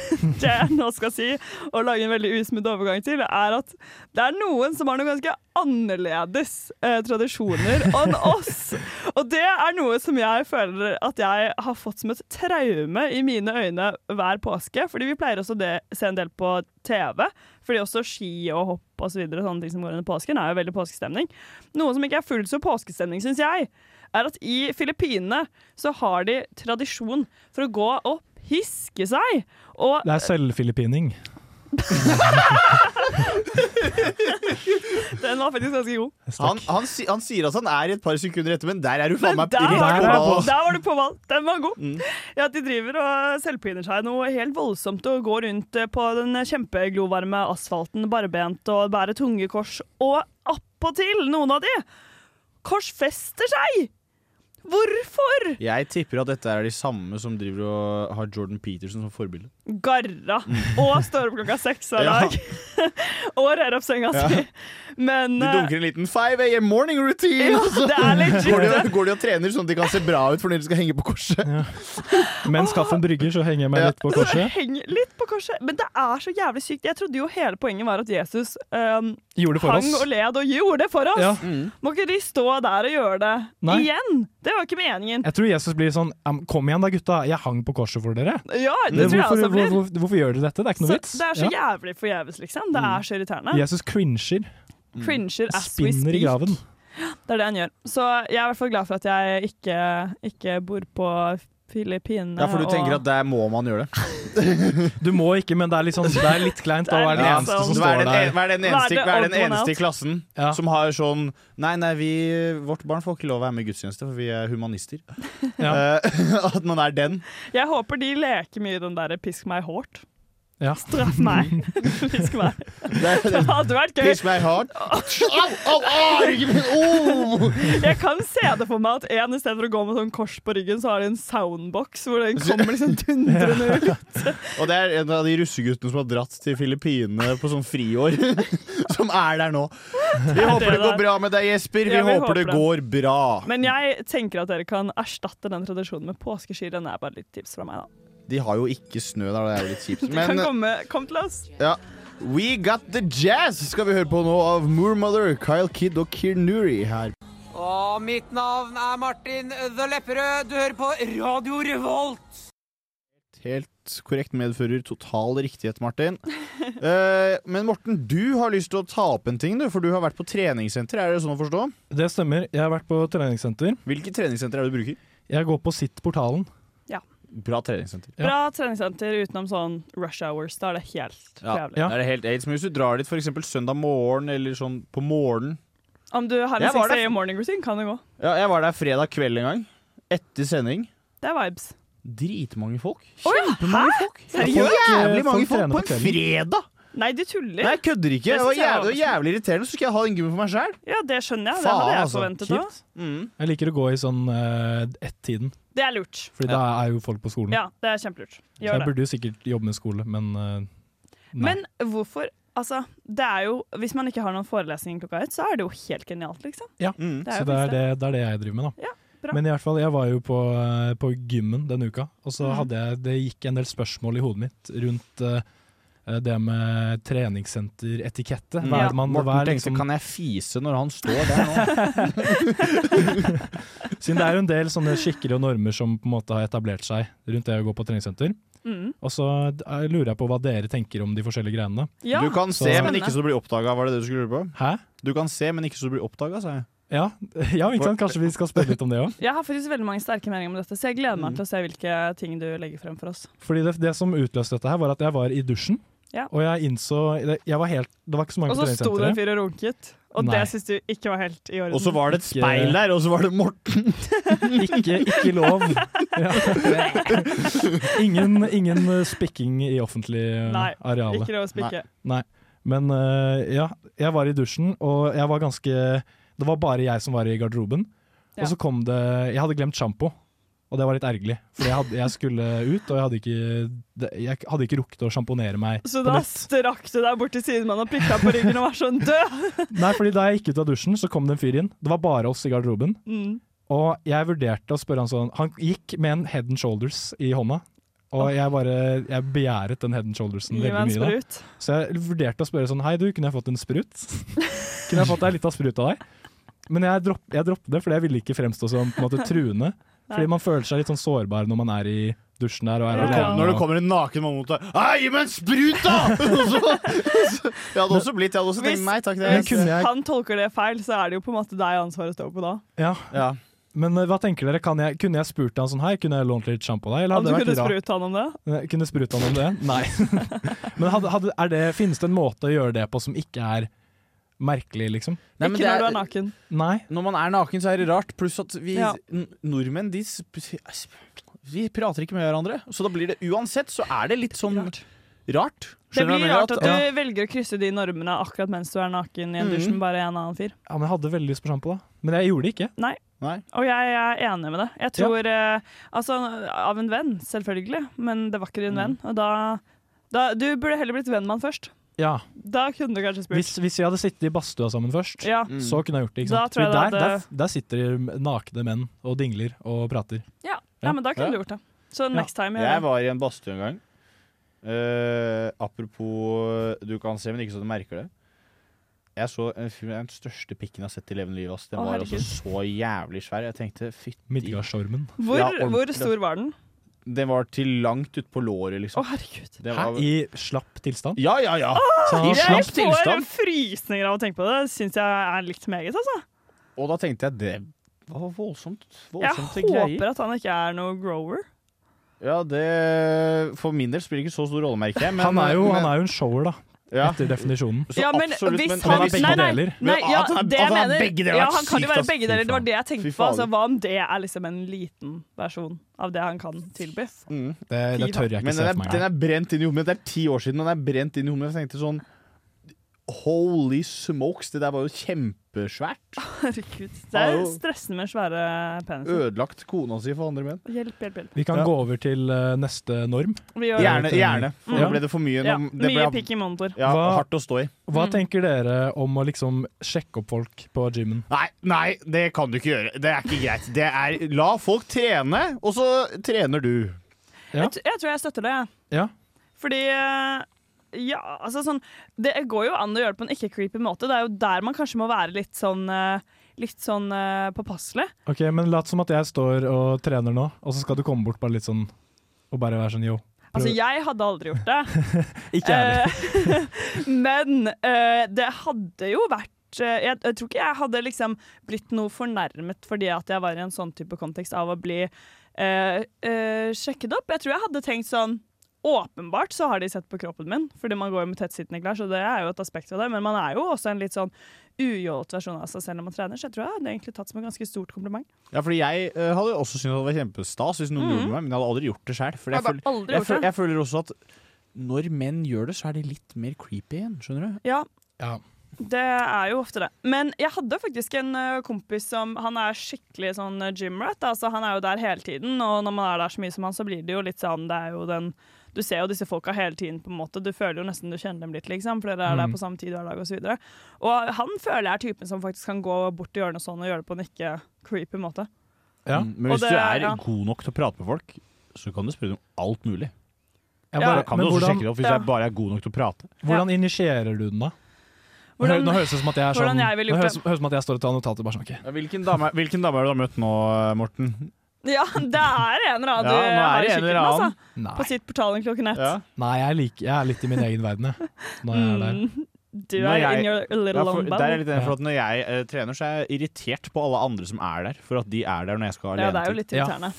jeg nå skal si, og lage en veldig usmudd overgang til, er at det er noen som har noen ganske annerledes eh, tradisjoner enn oss. Og det er noe som jeg føler at jeg har fått som et traume i mine øyne hver påske. Fordi vi pleier også det, se en del på TV. Fordi også ski og hopp og så videre, sånne ting som går under påsken, er jo veldig påskestemning. Noe som ikke er fullt så påskestemning, syns jeg, er at i Filippinene så har de tradisjon for å gå og hiske seg. Og
Det er selvfilippining.
den var faktisk ganske god.
Han, han, si- han sier at han er et par sekunder etter, men der er du faen meg
Der
rett
var,
på
du
ballen.
der var du på ball! Den var god.
Mm.
Ja, at de driver og selvpiner seg noe helt voldsomt og går rundt eh, på den kjempeglovarme asfalten barbent og bærer tunge kors. Og appåtil, noen av de, korsfester seg! Hvorfor?
Jeg tipper at dette er de samme som driver og har Jordan Peterson som forbilde.
Garra. Og står opp klokka seks hver
Ja.
dag. og rer opp senga si. Men
De
eh,
dunker altså. en liten 5 a.m. morning routine!
Ja,
og så
det er legit,
går, de,
det.
går de og trener sånn at de kan se bra ut for når de skal henge på korset?
Mens kaffen brygger, så henger jeg meg litt på korset.
Heng litt på korset. Men det er så jævlig sykt. Jeg trodde jo hele poenget var at Jesus um,
Gjorde det for
hang
oss.
og led og gjorde det for oss.
Ja. Mm.
Må ikke de stå der og gjøre det
Nei.
igjen? Det var ikke meningen.
Jeg tror Jesus blir sånn "Am, Kom igjen da, gutta. Jeg hang på korset for dere.
Ja, det tror jeg
hvorfor,
også blir.
hvor- hvor, hvorfor gjør dere dette? Det er ikke noe
Så,
vits.
det er så
Ja. Mm.
jævlig forgjeves, liksom. Det er så irriterende.
Jesus cringer.
Cringer as we
Spinner i
speak.
graven.
Det er det han gjør. Så jeg er i hvert fall glad for at jeg ikke, ikke bor på Filippinene.
Ja, for du
og-
tenker at der må man gjøre det?
Du må ikke, men det er litt, sånn, det er litt kleint å være den
Ja,
eneste
sånn-
som
vær
står
den en-
der.
Vær den eneste,
Være the
vær den
odd one
eneste i
out.
klassen som har sånn Nei, nei, vi, vårt barn får ikke lov å være med i gudstjeneste, for vi er humanister. Eh, at man er den.
Jeg håper de leker mye i den derre 'pisk meg hardt'.
Ja.
Straff meg. Pisk meg.
Det,
Det hadde vært gøy.
Piss meg hardt. Au, au, au, ryggen min! oh! Au!
Jeg kan se det for meg at en i stedet for å gå med sånn kors på ryggen, så har de en soundbox hvor den kommer liksom dundrende ut.
Og det er en av de russeguttene som har dratt til Filippinene på sånn friår, som er der nå. Vi håper det går bra med deg, Jesper. Vi,
Ja, vi
håper,
håper
det
det.
går bra.
Men jeg tenker at dere kan erstatte den tradisjonen med påskeskirenn. Det er bare litt tips fra meg, da.
De har jo ikke snø der, det er jo litt kjipt.
De
Men eh,
kan komme, kom til oss.
ja. We Got The Jazz skal vi høre på nå av Moormother, Kyle Kidd og Keir Nuri her.
Og mitt navn er Martin The Lepperød. Du hører på Radio Revolt.
Helt korrekt medfører total riktighet, Martin. Eh, men Morten, du har lyst til å ta opp en ting, du, for du har vært på treningssenter. Er det sånn å forstå?
Det stemmer. Jeg har vært på treningssenter.
Hvilke treningssenter er det du bruker?
Jeg går på Sitt-portalen.
Ja.
Bra treningssenter.
Bra treningssenter utenom sånn rush hours. Da er det helt
Ja,
jævlig.
Det er det helt aids. Men hvis du drar dit for eksempel søndag morgen eller sånn på morgen
Om du har en
Jeg var
6
der-
a.m. morning routine, kan det gå.
Ja, jeg var der fredag kveld en gang. Etter sending.
Det er vibes.
Dritmange folk.
Å ja! Hæ? Seriøst?
Jævlig mange
folk
folk
trener
på
på
en
kvelden.
fredag!
Nei, du tuller.
Nei, jeg kødder ikke.
Det
Det var
synes jeg
jævlig,
var
det var jævlig irriterende. Så skal jeg ha den gymmen for meg sjæl.
Ja, det skjønner jeg. Det
Faen,
hadde jeg
altså.
forventet òg.
Kjipt.
Mm.
Jeg liker å gå i sånn uh, ett-tiden,
Det er lurt.
Fordi da er jo folk på skolen.
Ja, det er kjempelurt.
Så
Gjør
jeg
det.
burde jo sikkert jobbe med skole, men eh, nei.
Men hvorfor Altså, det er jo Hvis man ikke har noen forelesning klokka ett, så er det jo helt genialt, liksom.
ja.
Mm.
Det er
Så
jo
det er
faktisk
det, det er det jeg driver med, da.
bra.
Men i hvert fall, jeg var jo på, eh, på gymmen denne uka, og så
Mhm.
hadde jeg, det gikk en del spørsmål i hodet mitt rundt eh, det med treningssenteretikette. Hva er det man,
Morten
hva er
tenkte
liksom,
kan jeg fise når han står der nå?
Siden det er jo en del sånne skikker og normer som på en måte har etablert seg rundt det å gå på treningssenter.
Mm.
Og så d- jeg lurer jeg på hva dere tenker om de forskjellige greiene.
Ja,
du kan se,
så-
men ikke så du blir oppdaga. Var det det du skulle lure på?
Hæ?
Du kan se, men ikke så du blir oppdaga, sa jeg.
Ja, ja ikke sant? kanskje vi skal spørre litt om det òg.
Jeg har faktisk veldig mange sterke meninger om dette, så jeg gleder
Mm.
meg til å se hvilke ting du legger frem for oss.
Fordi det, det som utløste dette her, var at jeg var i dusjen.
Ja.
Og jeg innså det, jeg var helt, det var ikke så mange
Og
på
så sto det en
treningssenteret.
fyr og runket, og
Nei.
det syns du ikke var helt i orden.
Og så var det et
Ikke-
speil der, og så var det Morten.
Ikke, ikke lov. Ja. Ingen, ingen eh, spikking i offentlig eh,
Nei,
areale.
ikke lov å spikke.
Nei. Men eh, ja, jeg var i dusjen, og jeg var ganske Det var bare jeg som var i garderoben.
Ja.
Og så kom det Jeg hadde glemt sjampo, og det var litt ergerlig. For jeg, hadde, jeg skulle ut, og jeg hadde ikke, det- jeg hadde ikke rukket å sjamponere meg.
Så
på
da
nytt.
strakk du deg bort til sidemannen og pikka på ryggen og var sånn død!
Nei, fordi Da jeg gikk ut av dusjen, så kom det en fyr inn. Det var bare oss i garderoben.
Mm.
Og jeg vurderte å spørre han sånn Han gikk med en head and shoulders i hånda. Og jeg bare jeg begjæret den head and shouldersen
Gi meg
veldig
en
mye.
sprut.
Da. Så jeg vurderte å spørre sånn Hei, du, kunne jeg fått en sprut? kunne jeg fått deg litt av sprut av deg? Men jeg, dropp, jeg droppet det, fordi jeg ville ikke fremstå som på en måte truende. Fordi man føler seg litt sånn sårbar når man er i dusjen der og er
Når det
alene.
kom- når det
og-
kommer en naken mann mot deg Hei, gi meg en sprut, da! Og så- jeg hadde også blitt Jeg hadde også tenkt nei takk. Det er
hvis han tolker det feil, så er det jo på en måte deg ansvaret står på da.
Ja. Men eh, hva tenker dere? Kan jeg, kunne jeg spurt han sånn Hei, kunne jeg lånt litt sjampo av deg? Eller
Om du
hadde det
kunne
vært rart?
sprute han om det?
Eh, Kunne spruta han om det? Nei. Men hadde, hadde, er det, finnes det en måte å gjøre det på som ikke er merkelig, liksom?
Ikke når du er naken.
Nei.
Når man er naken, så er det rart. Pluss at vi
Ja.
n- nordmenn, de sp- sp- Vi prater ikke med hverandre. Så da blir det uansett så er det litt sånn rart.
Det
Skjønner du hva jeg
blir
mener?
rart at du velger å krysse de normene akkurat mens du er naken i en
Mhm.
dusj med bare en annen fyr.
Ja, men Jeg hadde veldig lyst på sjampo, da. Men jeg gjorde det ikke.
Nei. Og jeg er enig med det. Jeg tror eh, Altså, av en venn, selvfølgelig, men det var ikke din
Mhm.
venn. Og da, da Du burde heller blitt venn med han først.
Ja.
Da kunne du kanskje spurt.
Hvis, hvis vi hadde sittet i badstua sammen først,
Ja.
Mm.
så kunne jeg gjort det. Ikke
Da
sant?
tror jeg
Fordi
det
der,
hadde-
der, der sitter de nakne menn og dingler og prater.
Ja.
Ja.
ja, men da kunne
Ja.
du gjort det. Så next time gjør
Jeg
det.
var i en badstue en gang. Eh, apropos Du kan se, men ikke så du merker det. Jeg så en fyr med den største pikken jeg har sett i levende liv. Ass. Den
Å,
var
herregud.
altså så jævlig svær. Jeg tenkte fytti
Midgardsormen.
Hvor, hvor stor var den?
Den var til langt utpå låret, liksom.
Å, herregud.
Det
Hæ?
var-
I slapp tilstand?
Ja, ja, ja!
Så
I
han
slapp
Jeg får
tilstand.
frysninger av å tenke på det. Det syns jeg er litt meget, altså.
Og da tenkte jeg det var voldsomt.
Jeg
Voldsomt
håper at han ikke er noe grower.
Ja, det For min del spiller ikke så stor rolle, merker jeg. Men,
han, er jo,
men,
han er jo en shower, da. Etter definisjonen.
Ja, men hvis
han er begge
nei, nei,
deler.
Nei,
Men
ja,
at han-
det
at han er
mener
Altså, begge deler,
Ja,
er
han kan jo
sykt,
være
ass.
begge deler. Det var det jeg
Fy
tenkte på.
faen.
Altså, hva om det er liksom en liten versjon av det han kan tilby?
Det, det
Fy faen.
tør jeg ikke
Men
se
den er,
for meg.
den er brent inn i hodet mitt. Det er ti år siden, og den er brent inn i hodet mitt. Jeg tenkte sånn Holy smokes, det der var jo kjempesvært.
Herregud. Det er stressende med svære peniser.
Ødelagt kona si for andre menn.
Hjelp, hjelp, hjelp.
Vi kan gå over til eh, neste norm.
Vi gjør det.
Gjerne. gjerne for
Mm.
Nå ble det for mye.
Ja,
Nå, det
mye
ble,
pikk i monitor.
ja, hardt å stå i.
Hva tenker dere om å liksom sjekke opp folk på gymmen?
Nei, nei, det kan du ikke gjøre. Det er ikke greit. Det er La folk trene, og så trener du.
Jeg, t- jeg tror jeg støtter det, jeg.
Ja.
Fordi eh, Ja, altså sånn Det går jo an å gjøre det på en ikke-creepy måte. Det er jo der man kanskje må være litt sånn eh, Litt sånn eh, påpasselig.
Ok, men Lat som at jeg står og trener nå, og så skal du komme bort bare litt sånn og bare være sånn yo. prøv-
Uh.
Altså, jeg hadde aldri gjort det.
Ikke jeg heller.
Eh, men eh, det hadde jo vært eh, jeg, jeg tror ikke jeg hadde liksom blitt noe fornærmet fordi at jeg var i en sånn type kontekst av å bli eh, eh, sjekket opp. Jeg tror jeg hadde tenkt sånn Åpenbart så har de sett på kroppen min, fordi man går jo med tettsittende klær, så det er jo et aspekt av det, men man er jo også en litt sånn ujålet versjon av seg selv når man trener, så jeg tror jeg hadde egentlig tatt som et ganske stort kompliment.
Ja, fordi jeg eh, hadde også syntes det var kjempestas hvis noen
Mhm.
gjorde det med meg, men jeg hadde aldri gjort det sjøl. Jeg,
Hadde
føl-
aldri
jeg,
gjort
føl-
det.
jeg føler også at når menn gjør det, så er det litt mer creepy igjen. Skjønner du?
Ja,
Ja.
Det er jo ofte det. Men jeg hadde faktisk en ø, kompis som Han er skikkelig sånn gymrat. Altså, han er jo der hele tiden, og når man er der så mye som han, så blir det jo litt sånn Det er jo den Du ser jo disse folka hele tiden, på en måte. Du føler jo nesten du kjenner dem litt, liksom, for dere er der
Mm.
på samme tid hver dag, og så videre. Og han føler jeg er typen som faktisk kan gå bort til hjørnet sånn og gjøre det på en ikke creepy måte.
Ja.
Mm, Men
Og
hvis
det-
du er
ja.
god nok til å prate med folk, så kan du spørre om alt mulig.
Ja, bare-
da kan
men
du også
hvordan-
sjekke det opp hvis
Ja.
jeg bare er god nok til å prate.
Hvordan initierer du den, da? Nå hø-
Hvordan-
nå høres det som at jeg er
hvordan
sånn
jeg ville
Nå
gjort
høres,
det.
høres det som at jeg står og tar notater. Bare sånn, ok.
Hvilken dame, har du da møtt nå, Morten?
Ja, det er en eller annen du
Ja, nå er
har i
det en eller
kikkerten,
annen.
altså.
Nei.
På sitt portalen klokken ett.
Nei, jeg, liker, jeg er litt i min egen verden, jeg. Når jeg er der.
Mm, Du er in your little
ja, for,
long
der er jeg litt enig, for
Ja.
at Når jeg eh, trener, så er jeg irritert på alle andre som er der, for at de er der når jeg skal
Ja,
alene.
det er jo
til.
litt irriterende.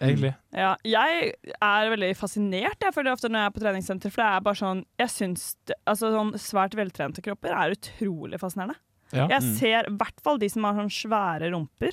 Egentlig.
Ja, jeg er veldig fascinert jeg føler ofte når jeg er på treningssenter, for det er bare sånn Jeg syns det- altså, sånn svært veltrente kropper er utrolig fascinerende.
Ja.
Jeg
Mm.
ser i hvert fall de som har sånn svære rumper.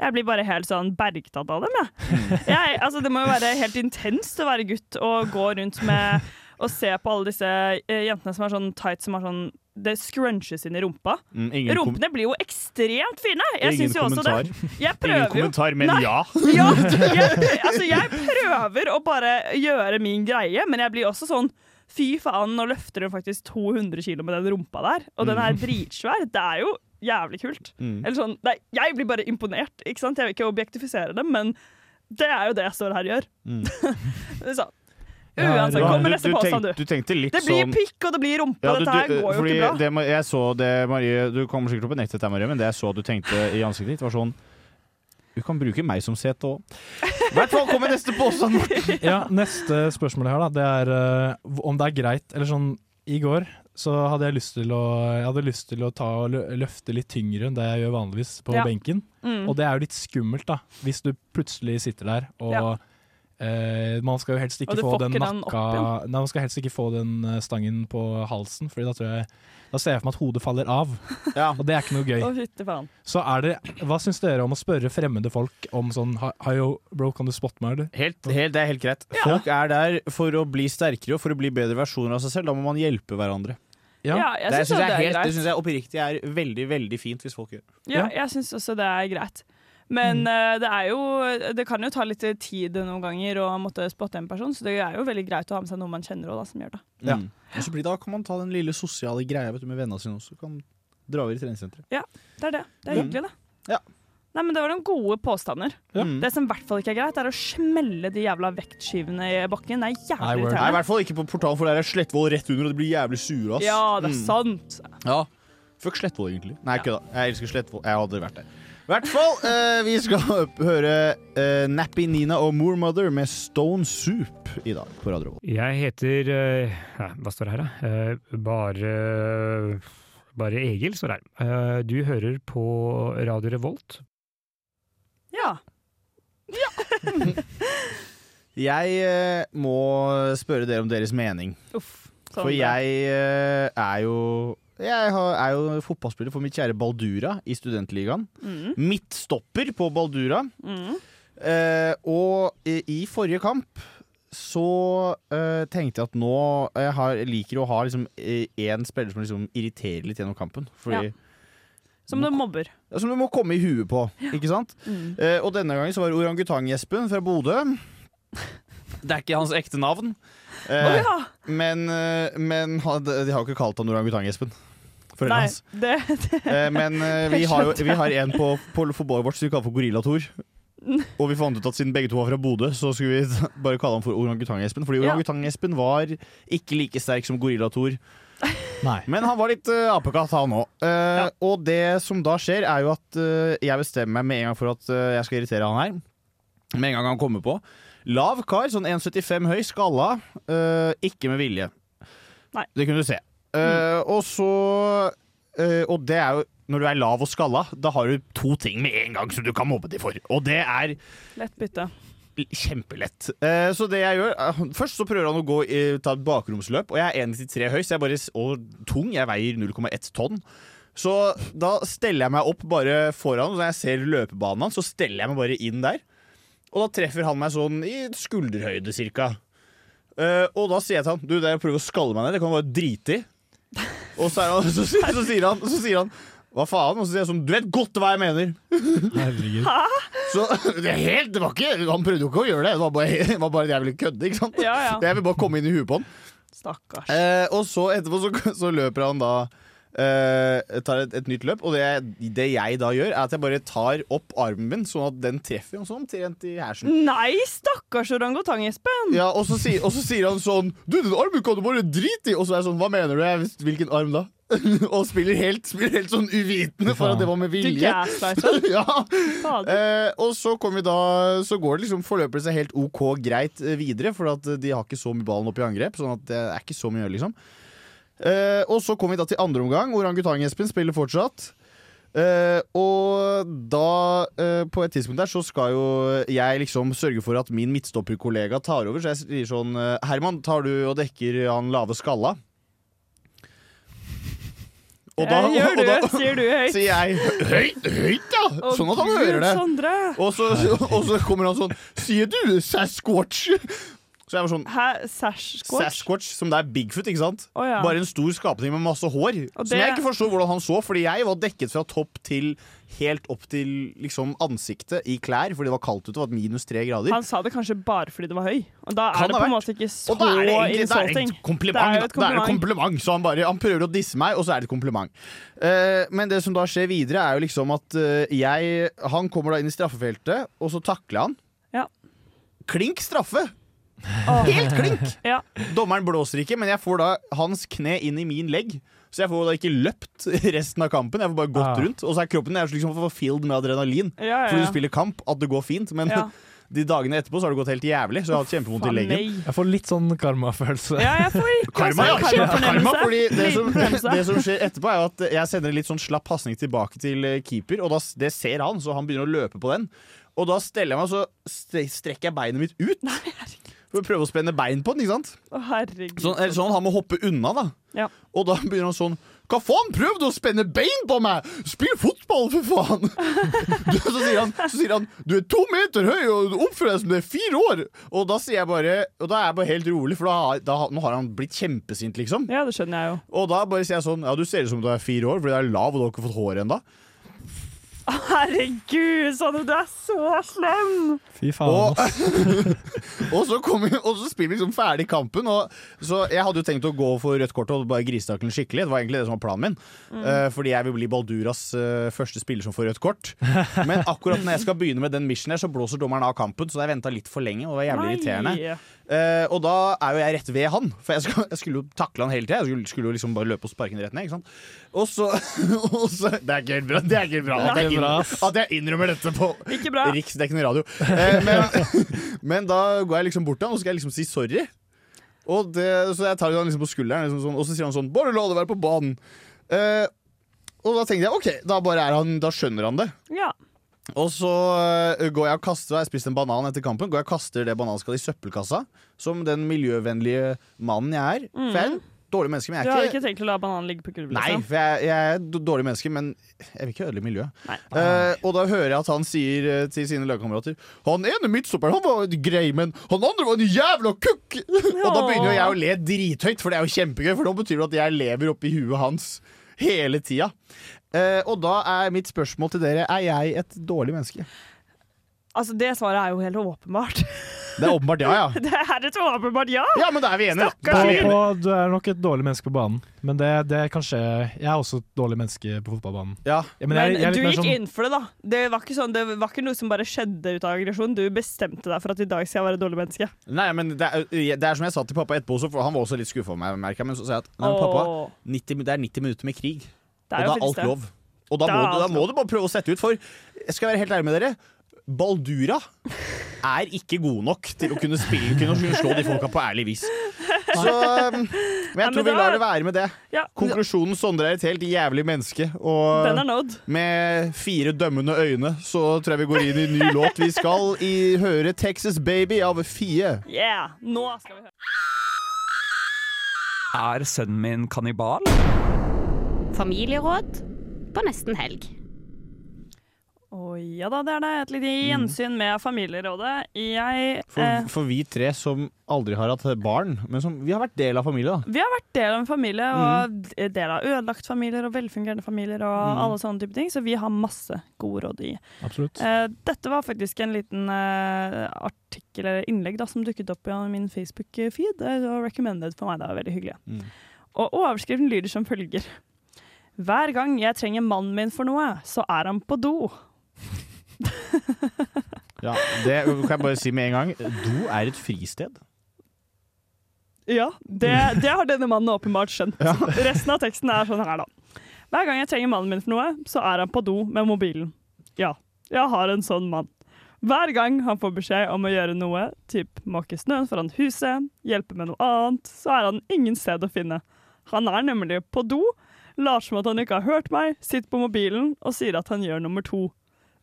Jeg blir bare helt sånn bergtatt av dem,
Mm.
jeg. jeg altså, det må jo være helt intenst å være gutt og gå rundt med og se på alle disse eh, jentene som har sånn tights som har sånn Det scrunches inn i rumpa.
Mm, ingen kom-
Rumpene blir jo ekstremt fine! Jeg
Ingen
syns jo også
kommentar.
det. Jeg prøver
Ingen
jo.
kommentar, men
Nei.
ja.
Ja, jeg, altså jeg prøver å bare gjøre min greie, men jeg blir også sånn Fy faen, nå løfter hun faktisk 200 kilo med den rumpa der, og den er
Mm.
dritsvær. Det er jo jævlig kult.
Mm.
Eller sånn, det er, jeg blir bare imponert,
Mm.
ikke sant? Jeg vil ikke objektifisere det, men det er jo det jeg står her og gjør. Så, Uansett, kom med
Du-
neste
du
påstand,
tenkte-
du.
du tenkte litt
det blir
sånn-
pikk, og det blir rumpe.
Ja, du-
Dette her
du- eh,
går jo
fordi
ikke bra.
Det, jeg så det, Marie, du kommer sikkert opp på nettet, der, Marie, men det jeg så du tenkte i ansiktet ditt, var sånn Du kan bruke meg som sete òg. I hvert fall kommer neste påstand, Morten.
Ja, neste spørsmål her da, det er eh, hv- om det er greit, eller sånn, i går så hadde jeg lyst til å, jeg hadde lyst til å ta og lø- løfte litt tyngre enn det jeg gjør vanligvis på
Ja.
benken.
Mm.
Og det er jo litt skummelt da, hvis du plutselig sitter der, og
Ja.
eh, man skal jo helst
Og
ikke
du
få
får
den
ikke den opp
nakka,
igjen.
nei, man skal helst ikke få den eh, stangen på halsen, fordi da tror jeg, da ser jeg for meg at hodet faller av, og det er ikke noe gøy.
Å, fytti faen.
Så er det, hva syns dere om å spørre fremmede folk om sånn «Hi- Hi, yo, bro, kan du spotte meg, eller?
Helt, helt, det er helt greit. Folk er der for å bli sterkere og for å bli bedre versjoner av seg selv. Da må man hjelpe hverandre.
Ja.
Ja, jeg
det
synes
syns
jo
jeg,
det er
helt-
greit.
det synes jeg oppriktig er veldig, veldig fint hvis folk gjør.
Ja, jeg syns også det er greit.
Mm.
Men eh, det er jo Det kan jo ta litt tid noen ganger å måtte spotte en person, så det er jo veldig greit å ha med seg noen man kjenner òg, som gjør det.
Ja. Og så blir, da kan man ta den lille sosiale greia vet du, med vennene sine også. Kan dra over i treningssenteret.
Ja, det er det. Det er
Mm.
hyggelig, det. Nei, men Det var noen gode påstander.
Ja.
Det som i hvert fall ikke er greit, er å smelle de jævla vektskivene i bakken. Det er
Nei,
jævlig
I hvert
irriterende.
fall ikke på portalen, for der er Slettvoll rett under, og de blir jævlig sure. ass.
Ja, det er
Mm.
sant.
Ja. Fuck Slettvoll, egentlig. Nei, kødda. Jeg elsker Slettvoll. Jeg hadde vært der. I hvert fall, eh, vi skal opp- høre eh, Nappy Nina og Moormother med Stone Soup i dag på Radio Revolt.
Jeg heter eh, ja, Hva står det her, da? Eh, Bare Bare Egil står det her. Eh, Du hører på Radio Revolt.
Ja.
Jeg eh, må spørre dere om deres mening.
Uff. sånn
For
det.
jeg eh, er jo jeg har- er jo fotballspiller for mitt kjære Baldura i studentligaen.
Mm.
Midtstopper på Baldura.
Mm.
Eh, og i, i forrige kamp så eh, tenkte jeg at nå Jeg har, liker å ha liksom én spiller som liksom irriterer litt gjennom kampen. Fordi
Ja. Som du mobber.
ja, Som du må komme i huet på, ikke sant?
Mm.
Eh, og denne gangen så var det orangutang-Jespen fra Bodø. Det er ikke hans ekte navn.
Å ja.
Eh, Men, eh, men han, de har jo ikke kalt han orangutang-Jespen. Foreldrene
Nei,
hans.
det, det.
Eh, men eh, vi, har jo, vi har en på, på forbordet vårt som vi kaller for Gorilla-Tor. Og vi fant ut at siden begge to var fra Bodø, så skulle vi bare kalle han for Orangutang-Espen. Fordi
Ja.
Orangutang-Espen var ikke like sterk som Gorilla-Tor. Men han var litt eh, apekatt, han òg. Og det som da skjer, er jo at eh, jeg bestemmer meg med en gang for at eh, jeg skal irritere han her. Med en gang han kommer på. Lav kar, sånn 1,75 høy, skalla. eh, ikke med vilje. Det kunne du se. Eh, Og så eh, Og det er jo når du er lav og skalla, da har du to ting med en gang som du kan mobbe dem for. Og det er
Lett bytte.
l- kjempelett. Eh, så det jeg gjør eh, Først så prøver han å gå i- ta et bakromsløp, og jeg er 1,93 høy så jeg bare, s- og tung. Jeg veier 0,1 tonn. Så da steller jeg meg opp bare foran, og når jeg ser løpebanen hans, så steller jeg meg bare inn der. Og da treffer han meg sånn i skulderhøyde, cirka. Eh, og da sier jeg til han Du, det er å prøve å skalle meg ned, det kan du bare drite i. Og så, er han, så, sier- så, sier han, så sier han hva faen? Og så sier jeg sånn Du vet godt hva jeg mener!
Herregud.
Så det, er helt, det var ikke Han prøvde jo ikke å gjøre det, det var bare, det var bare at jeg ville kødde. Ikke sant?
Ja, ja.
Jeg ville bare komme inn i huet på han.
Stakkars.
Eh, og så etterpå så, så løper han da eh, Tar et, et nytt løp, og det, det jeg da gjør, er at jeg bare tar opp armen min, sånn at den treffer ham sånn omtrent i hersen.
Nei, stakkars orangutang-Espen!
Ja, og så, sier, og så sier han sånn Du, den armen kan du bare drite i! Og så er jeg sånn, hva mener du? Jeg, visste- Hvilken arm da? og spiller helt, spiller helt sånn uvitende for at det var med
Du
vilje.
gaslighter.
ja. eh, og så, kommer vi da, så går det liksom forløper det seg helt OK greit eh, videre, for at eh, de har ikke så mye ballen opp i angrep. Sånn at det er ikke så mye å gjøre, liksom. Eh, og så kom vi da til andre omgang. Orangutang-Espen spiller fortsatt. Eh, og da, eh, på et tidspunkt der, så skal jo jeg liksom sørge for at min midtstopperkollega tar over. Så jeg sier sånn eh, Herman, tar du og dekker han lave skalla? Og da,
Jeg Eh, gjør
og da
det, sier du høyt.
Sier jeg høyt, høyt, ja!
Å,
sånn at han
Gud,
hører det.
Sondre.
Og så, og så kommer han sånn Sier du Sasquatch? Så jeg var sånn
Hæ, Sasquatch?
Sasquatch, som det er Bigfoot, ikke sant?
Å, ja.
Bare en stor skapning med masse hår.
Og
Som
det-
jeg ikke forstår hvordan han så, fordi jeg var dekket fra topp til helt opp til liksom, ansiktet i klær, fordi det var kaldt ute, det var minus tre grader.
Han sa det kanskje bare fordi det var høy. Og da er
Kan
det
ha
på en
vært.
måte ikke så
og da er det egentlig da er det
insulting.
et kompliment.
jo
da.
et
Da er det et kompliment. Så han, bare, han prøver å disse meg, og så er det et kompliment. Eh, men det som da skjer videre, er jo liksom at eh, jeg Han kommer da inn i straffefeltet, og så takler han.
Ja.
Klink straffe! Helt klink!
Ja.
Dommeren blåser ikke, men jeg får da hans kne inn i min legg. Så jeg får da ikke løpt resten av kampen, jeg får bare gått
Ja.
rundt. Og så er kroppen jeg er liksom forfilled med adrenalin
Ah. Ja, ja, ja.
fordi du spiller kamp, at det går fint. Men
Ja.
de dagene etterpå så har det gått helt jævlig, så jeg har hatt kjempevondt i
Faen,
leggen.
nei.
Jeg får litt sånn karmafølelse.
Ja, jeg får ikke
Karma, ja.
altså, karmafornemmelse.
karma fordi det
Liten
som,
fornemmelse.
det som skjer etterpå, er jo at jeg sender en litt sånn slapp pasning tilbake til eh, keeper, og da, s- det ser han, så han begynner å løpe på den. Og da steller jeg meg, og så stre- strekker jeg beinet mitt ut. for å prøve å spenne bein på den, ikke sant?
Å, herregud.
Sånn, eller sånn, han må hoppe unna, da.
Ja.
Og da begynner han sånn Hva faen, prøvde å spenne bein på meg?! Spill fotball, for faen! Du, så, sier han, så sier han Du er to meter høy og du oppfører deg som du er fire år! Og da sier jeg bare Og da er jeg bare helt rolig, for da, har- da, har- nå har han blitt kjempesint, liksom.
Ja, det skjønner jeg jo.
Og da bare sier jeg sånn Ja, du ser ut som du er fire år, fordi du er lav og du har ikke fått hår ennå.
Å, Herregud, Sanne, du er så slem!
Fy
Og, og, så kom, og så spiller vi liksom ferdig kampen. Og, så jeg hadde jo tenkt å gå for rødt kort og bare grisetakle den skikkelig. Det var egentlig det som var planen min.
Mm.
Eh, fordi jeg vil bli Balduras eh, første spiller som får rødt kort. Men akkurat når jeg skal begynne med den missionen her, så blåser dommeren av kampen. Så jeg venta litt for lenge, og det var jævlig
Nei.
irriterende. Eh, og da er jo jeg rett ved han, for jeg, skal, jeg skulle jo takle han hele tida. Jeg skulle, skulle jo liksom bare løpe og sparke han rett ned. Ikke sant? Og så, og så Det er ikke helt bra. Det er ikke helt bra at
Det er
jeg,
ikke bra,
inn,
ass.
at jeg innrømmer dette på
Ikke bra.
riksdekkende radio. Eh, men, men da går jeg liksom bort til han og så skal jeg liksom si sorry. Og det, så jeg tar han liksom på skulderen, liksom sånn, og så sier han sånn 'Bare la det være på banen'. Eh, og da tenkte jeg OK, da, bare er han, da skjønner han det.
Ja.
Og så øh, går jeg og kaster Jeg spiste en banan etter kampen Går jeg og kaster det bananskallet i søppelkassa Som den miljøvennlige mannen jeg er
Mm.
For jeg er en dårlig menneske
Du
Men jeg
har
er ikke,
ikke tenkt å la bananen ligge på gulvet?
Nei,
liksom?
for jeg, jeg er et dårlig menneske Men jeg vil ikke ødelegge miljøet
Nei.
Eh, Og da hører jeg at han sier eh, til sine lagkamerater Han ene midtstopperen, han var en grei Men han andre var en jævla kukk Og da begynner jo jeg å le drithøyt For det er jo kjempegøy, for nå betyr det at jeg lever oppi huet hans Hele tida Eh, Og da er mitt spørsmål til dere Er jeg et dårlig menneske?
Altså, Det svaret er jo helt åpenbart.
Det er åpenbart ja, ja.
Det er et åpenbart ja!
Ja, men da er vi enige, da.
På,
Stakkars
på,
lille-
du er nok et dårlig menneske på banen, men det, det kan skje. Jeg er også et dårlig menneske på fotballbanen. Ja, men
Men,
jeg, jeg er
du
litt mer
gikk
sånn,
inn for det, da. Det var, ikke sånn, det var ikke noe som bare skjedde ut av aggresjon. Du bestemte deg for at i dag skal jeg være et dårlig menneske.
Nei, men det er, det er som jeg sa til pappa etterpå også, for han var også litt skuffa over meg, merker jeg, men så sa jeg at nei, men pappa,
Åh.
90, min- det er 90 minutter med krig,
Det er
og
jo
da er
faktisk
alt
det.
lov. Og da
Det er
må, du, da
alt
må du bare prøve å sette ut, for jeg skal være helt ærlig med dere, Baldura er ikke god nok til å kunne spille, kunne slå de folka på ærlig vis. Så, um, men jeg
men
tror vi
da-
lar det være med det.
Ja.
Konklusjonen Sondre er et helt jævlig menneske, og
Den er nådd.
med fire dømmende øyne så tror jeg vi går inn i en ny låt. Vi skal i, høre Texas Baby av Fie.
Yeah! Nå skal vi høre.
Er sønnen min kannibal?
Familieråd på nesten helg.
Å ja da, det er det. Et lite gjensyn med Familierådet. Jeg eh,
Mm. For, for vi tre som aldri har hatt barn, men som vi har vært del av familie, da.
Vi har vært del av en familie, og
Mm.
del av ødelagt familier og velfungerende familier. og alle sånne type ting, Så vi har masse gode råd i.
Absolutt.
Eh, dette var faktisk en liten eh, artikkel eller innlegg da, som dukket opp i min Facebook-feed. Det var recommended for meg, det var veldig hyggelig. Og overskriften lyder som følger. Hver gang jeg trenger mannen min for noe, så er han på do.
Ja, det kan jeg bare si med en gang. Do er et fristed.
Ja, det, det har denne mannen åpenbart skjønt. Resten av teksten er sånn her, da. Hver gang jeg trenger mannen min for noe, så er han på do med mobilen. Ja, jeg har en sånn mann. Hver gang han får beskjed om å gjøre noe, typ måke snøen foran huset, hjelpe med noe annet, så er han ingen sted å finne. Han er nemlig på do, later som at han ikke har hørt meg, sitter på mobilen og sier at han gjør nummer to.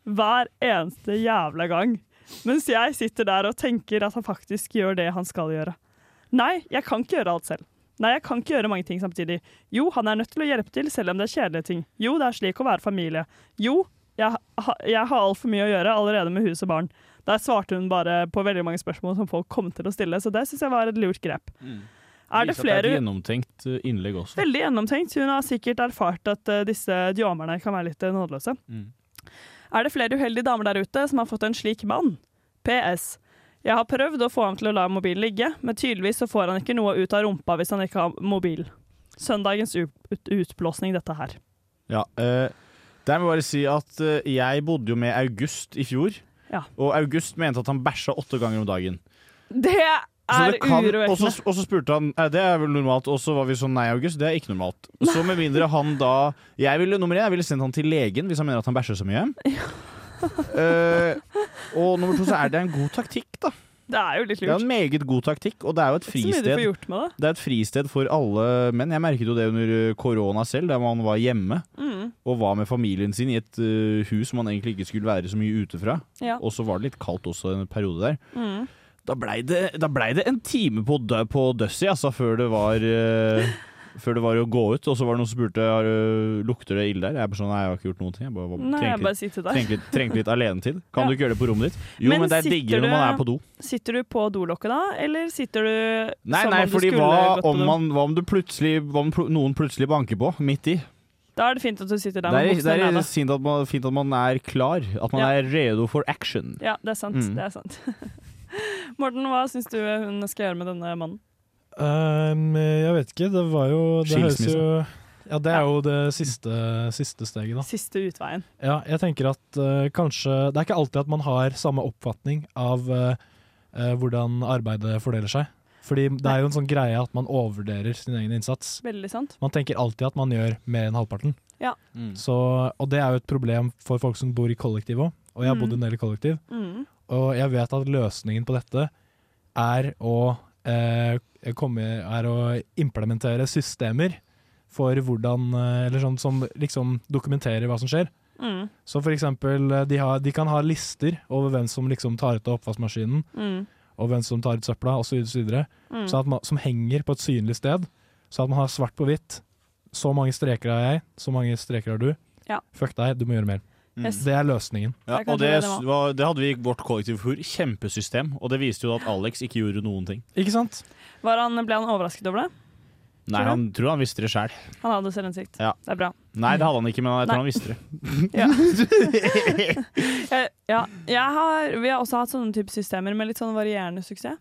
Hver eneste jævla gang. Mens jeg sitter der og tenker at han faktisk gjør det han skal gjøre. Nei, jeg kan ikke gjøre alt selv. Nei, jeg kan ikke gjøre mange ting samtidig. Jo, han er nødt til å hjelpe til, selv om det er kjedelige ting. Jo, det er slik å være familie. Jo, jeg, ha, jeg har altfor mye å gjøre allerede med hus og barn. Der svarte hun bare på veldig mange spørsmål som folk kom til å stille, så det syns jeg var et lurt grep. Er Mm. det flere
gjennomtenkt eh, innlegg også.
Veldig gjennomtenkt. Hun har sikkert erfart at eh, disse djamerne kan være litt eh, nådeløse.
Mm.
Er det flere uheldige damer der ute som har fått en slik mann? PS. Jeg har prøvd å få ham til å la mobilen ligge, men tydeligvis så får han ikke noe ut av rumpa hvis han ikke har mobil. Søndagens ut ut- utblåsning, dette her.
Ja, eh, der må jeg bare si at eh, jeg bodde jo med August i fjor.
Ja.
Og August mente at han bæsja åtte ganger om dagen.
Det
Så
er
det kan-
urovekkende.
og så- Og så spurte han "Nei, Det er vel normalt, og så var vi sånn Nei, August, det er ikke normalt. Så med mindre han da Jeg ville nummer én, jeg ville sendt han til legen hvis han mener at han bæsjer så mye. Eh, og nummer to så er det en god taktikk, da.
Det er jo litt
Det er
lurt.
en meget god taktikk, og det er jo et
Ikke så mye du
fristed.
får gjort med det.
Det er et fristed for alle menn. Jeg merket jo det under eh, korona selv, der man var hjemme
Mm.
og var med familien sin i et eh, hus man egentlig ikke skulle være så mye ute fra.
Ja.
Og så var det litt kaldt også en periode der.
Mm.
Da blei det, da blei det en time på, dø- på Dussie, altså, før det var eh, før det var å gå ut, og så var det noen som spurte har du- lukter det ille der. Jeg bare sånn, nei, jeg har ikke gjort noen ting. Jeg bare, var-
Nei, jeg
trengte
bare
litt-
sitter der.
Trengte, litt- trengte litt alenetid. Kan
Ja.
du ikke gjøre det på rommet ditt? Jo, men, det er
sitter
diggere når man er
du-
på do.
Sitter du på dolokket da, eller sitter du
Nei,
som
nei,
om du
fordi
skulle
hva
gått på
om,
do?
man, hva om du plutselig Hva om pl- noen plutselig banker på, midt i?
Da er det fint at du sitter der
Det er,
med
det
buksene
er
nede.
fint, at man, fint at man er klar. At man
Ja.
er redo for action.
Ja, det er sant.
Mm.
Det er sant. Morten, hva syns du hun skal gjøre med denne mannen?
Ehm, jeg vet ikke, det var jo det høres
Skilsmisse.
jo, Ja, det er jo det siste, siste steget, da.
Siste utveien.
Ja, jeg tenker at eh, kanskje Det er ikke alltid at man har samme oppfatning av eh, eh, hvordan arbeidet fordeler seg. Fordi det er jo en sånn greie at man overvurderer sin egen innsats.
Veldig sant.
Man tenker alltid at man gjør mer enn halvparten.
Ja.
Mm.
Så, og det er jo et problem for folk som bor i kollektiv òg, og jeg har
Mm.
bodd en del i kollektiv.
Mm.
Og jeg vet at løsningen på dette er å, eh, komme, er å implementere systemer for hvordan eh, Eller sånn som liksom dokumenterer hva som skjer.
Mm.
Så for eksempel, eh, de, har, de kan ha lister over hvem som liksom tar ut av oppvaskmaskinen,
Mm.
og hvem som tar ut søpla, osv., så videre,
Mm.
sånn at man- som henger på et synlig sted. Så at man har svart på hvitt. Så mange streker har jeg, så mange streker har du.
Ja.
Fuck deg, du må gjøre mer.
Mm.
Yes.
Det er løsningen.
Ja,
Det er
og det,
kanskje det det
var, det hadde vi i vårt kollektiv for kjempesystem, og det viste jo at Alex ikke gjorde noen ting.
Ikke sant?
Var han, ble han overrasket over det?
Nei, han tror han visste det sjæl.
Han hadde selvinnsikt.
Ja.
Det er bra.
Nei, det hadde han ikke, men jeg tror
Nei.
han visste det.
Jeg, ja, jeg har, vi har også hatt sånne type systemer med litt sånn varierende suksess.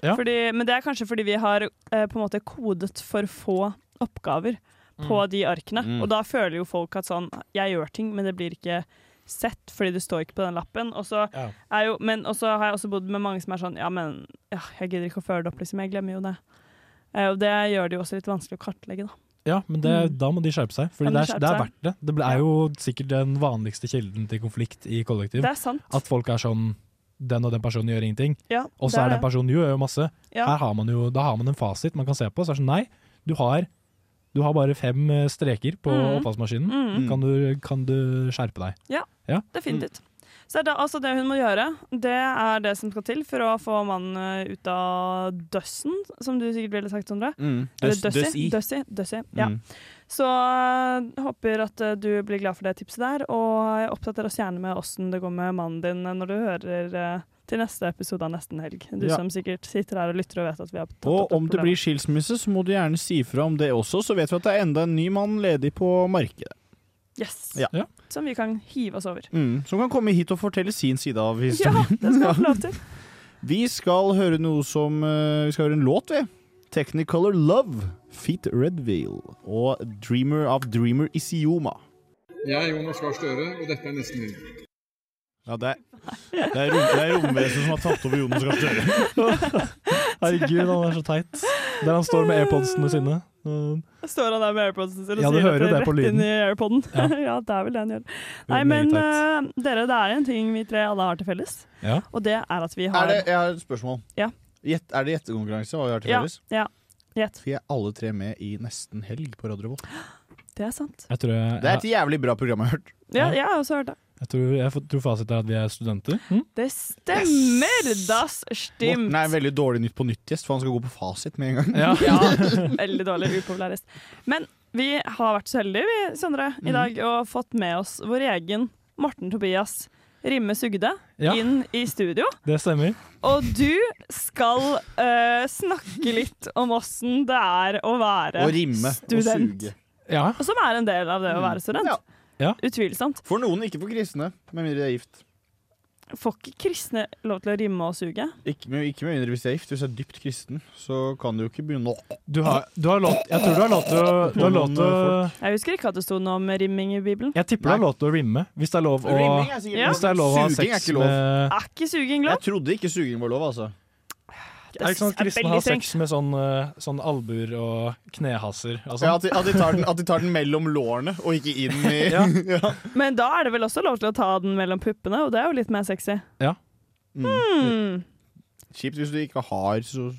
Ja.
Fordi, men det er kanskje fordi vi har eh, på en måte kodet for få oppgaver på
Mm.
de arkene.
Mm.
Og da føler jo folk at sånn Jeg gjør ting, men det blir ikke sett fordi det står ikke på den lappen. Og så
Ja.
er jo, men og så har jeg også bodd med mange som er sånn Ja, men ja, jeg gidder ikke å føre det opp, liksom. Jeg glemmer jo det. Eh, Og det gjør det jo også litt vanskelig å kartlegge, da.
Ja, men det, da må de skjerpe seg, for
Mm. Da må
det,
de
er-
skjerpe
det er
seg.
verdt det. Det ble- er jo sikkert den vanligste kilden til konflikt i kollektiv.
Det er sant.
At folk er sånn den og den personen gjør ingenting,
Ja,
og
det
så
er
er den
det.
personen jo gjør jo masse.
Ja.
Her har man jo, da har man en fasit man kan se på. Så er det sånn, nei, du har, du har bare fem eh, streker på
Mm.
oppvaskmaskinen.
Mm.
Kan, du, kan du skjerpe deg?
Ja,
Ja.
definitivt. Så det, er da- altså det hun må gjøre, det er det som skal til for å få mannen eh, ut av døssen, som du sikkert ville sagt, Sondre.
Mm.
Eller
Døss-
døssi. Døssi.
døssi.
døssi, Ja.
Mm.
Så eh, håper at eh, du blir glad for det tipset der, og oppdater oss gjerne med åssen det går med mannen din eh, når du hører eh, til neste episode av Nesten helg. Du
Ja.
som sikkert sitter her og lytter og vet at vi har tatt opp
Og
dette
om det blir
problemet.
skilsmisse, så må du gjerne si fra om det også, så vet vi at det er enda en ny mann ledig på markedet.
Yes.
Ja.
Som vi kan hive oss over.
Mm. Som kan komme hit og fortelle sin side av
Ja,
historien.
det skal vi få lov til.
Vi skal høre noe som eh, Vi skal høre en låt, vi. Technicolor Love, Feet Redveal og Dreamer of Dreamer Isioma.
Jeg er Jonas Gahr Støre, og dette er Nesten Helg.
Ja, det er, det er, rom, det er romvesenet som har tatt over Jonas Gahr Støre.
Herregud, han er så teit. Der han står med airpodsene sine. Mm.
Står han der med airpodsen sin og
Ja, du
sier
hører
dette
det på
rett inn
lyden.
i airpoden? Ja.
Ja.
det er vel det han gjør.
er
Nei,
meget
men eh, dere, det er en ting vi tre alle har til felles,
Ja.
og det er at vi
Er
har
det, jeg har et spørsmål.
Ja.
Gjett- er det gjettekonkurranse? Hva vi har til
Ja,
felles?
ja. Gjett.
Vi er alle tre med i Nesten helg på Radio Revolt.
Det er sant.
Jeg tror, jeg,
Det er et jævlig bra program jeg har hørt.
Ja, jeg har også hørt det.
jeg tror, jeg tror fasit er at vi er studenter. Mm?
Det stemmer! Das stimmt.
Morten er en veldig dårlig Nytt på Nytt-gjest, for han skal gå på fasit med en gang.
Ja.
Ja, veldig dårlig upopulær gjest. Men vi har vært så heldige, vi, Sondre,
Mhm.
i dag, og fått med oss vår egen Morten Tobias Rimme Sugde
Ja.
inn i studio.
Det stemmer.
Og du skal eh, snakke litt om åssen det er å være
Å rimme og
student.
suge.
Ja.
Som er en del av det å
Mm.
være student. Utvilsomt.
For noen, ikke for kristne, med mindre de er gift.
Får ikke kristne lov til å rimme og suge?
Ikke med, ikke med mindre hvis de er gift. Hvis du er dypt kristen, så kan du jo ikke begynne å
Du har, du har lov Jeg tror du har lov til å du har lov til å-
eh,
Jeg husker ikke at det sto noe om rimming i Bibelen.
Jeg tipper det er lov til å rimme, hvis det er lov å,
Rimming er sikkert lov.
hvis det er lov å ha
Suging er
sex
ikke lov.
med
Er ikke suging lov?
Jeg trodde ikke suging var lov, altså.
Det er ikke sånn at kristne har sex med sånn, eh, sånn albuer og knehaser og sånn?
Ja, at, de, at, de tar den, at de tar den mellom lårene og ikke inn i
Ja.
Men da er det vel også lov til å ta den mellom puppene, og det er jo litt mer sexy.
Ja.
Hmm.
Mm. Kjipt hvis du ikke har så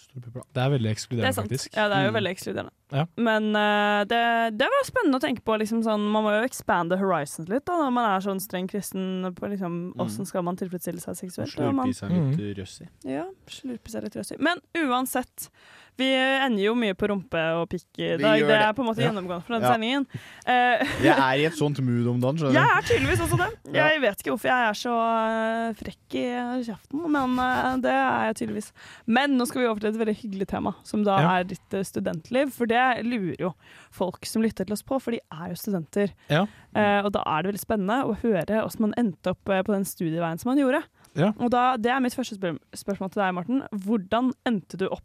store pupper.
Det er veldig
Det
ekskluderende,
er sant.
faktisk. Mm.
Ja, det er jo veldig ekskluderende.
Ja.
Men eh, det, det var spennende å tenke på. Liksom sånn, man må jo expande horizon litt da, når man er sånn streng kristen på liksom,
Mm.
åssen skal man tilfredsstille seg seksuelt. og man-
Slurpe i seg litt eh, røss i.
Ja, slurpe seg litt røsig. Men uansett, vi ender jo mye på rumpe og pikk i
Vi
dag.
gjør
Det er
det.
på en måte
Ja.
gjennomgående for denne
Ja.
sendingen. Eh,
Jeg er i et sånt mood om dagen. skjønner du.
jeg er tydeligvis også det.
Ja.
Jeg vet ikke hvorfor jeg er så eh, frekk i kjeften, men eh, det er jeg tydeligvis. Men nå skal vi over til et veldig hyggelig tema, som da
Ja.
er ditt eh, studentliv. For det lurer jo folk som lytter til oss på, for de er jo studenter.
Ja.
Eh, og da er det veldig spennende å høre hvordan man endte opp eh, på den studieveien som man gjorde.
Ja.
Og da, det er mitt første spør spørsmål til deg, Morten. Hvordan endte du opp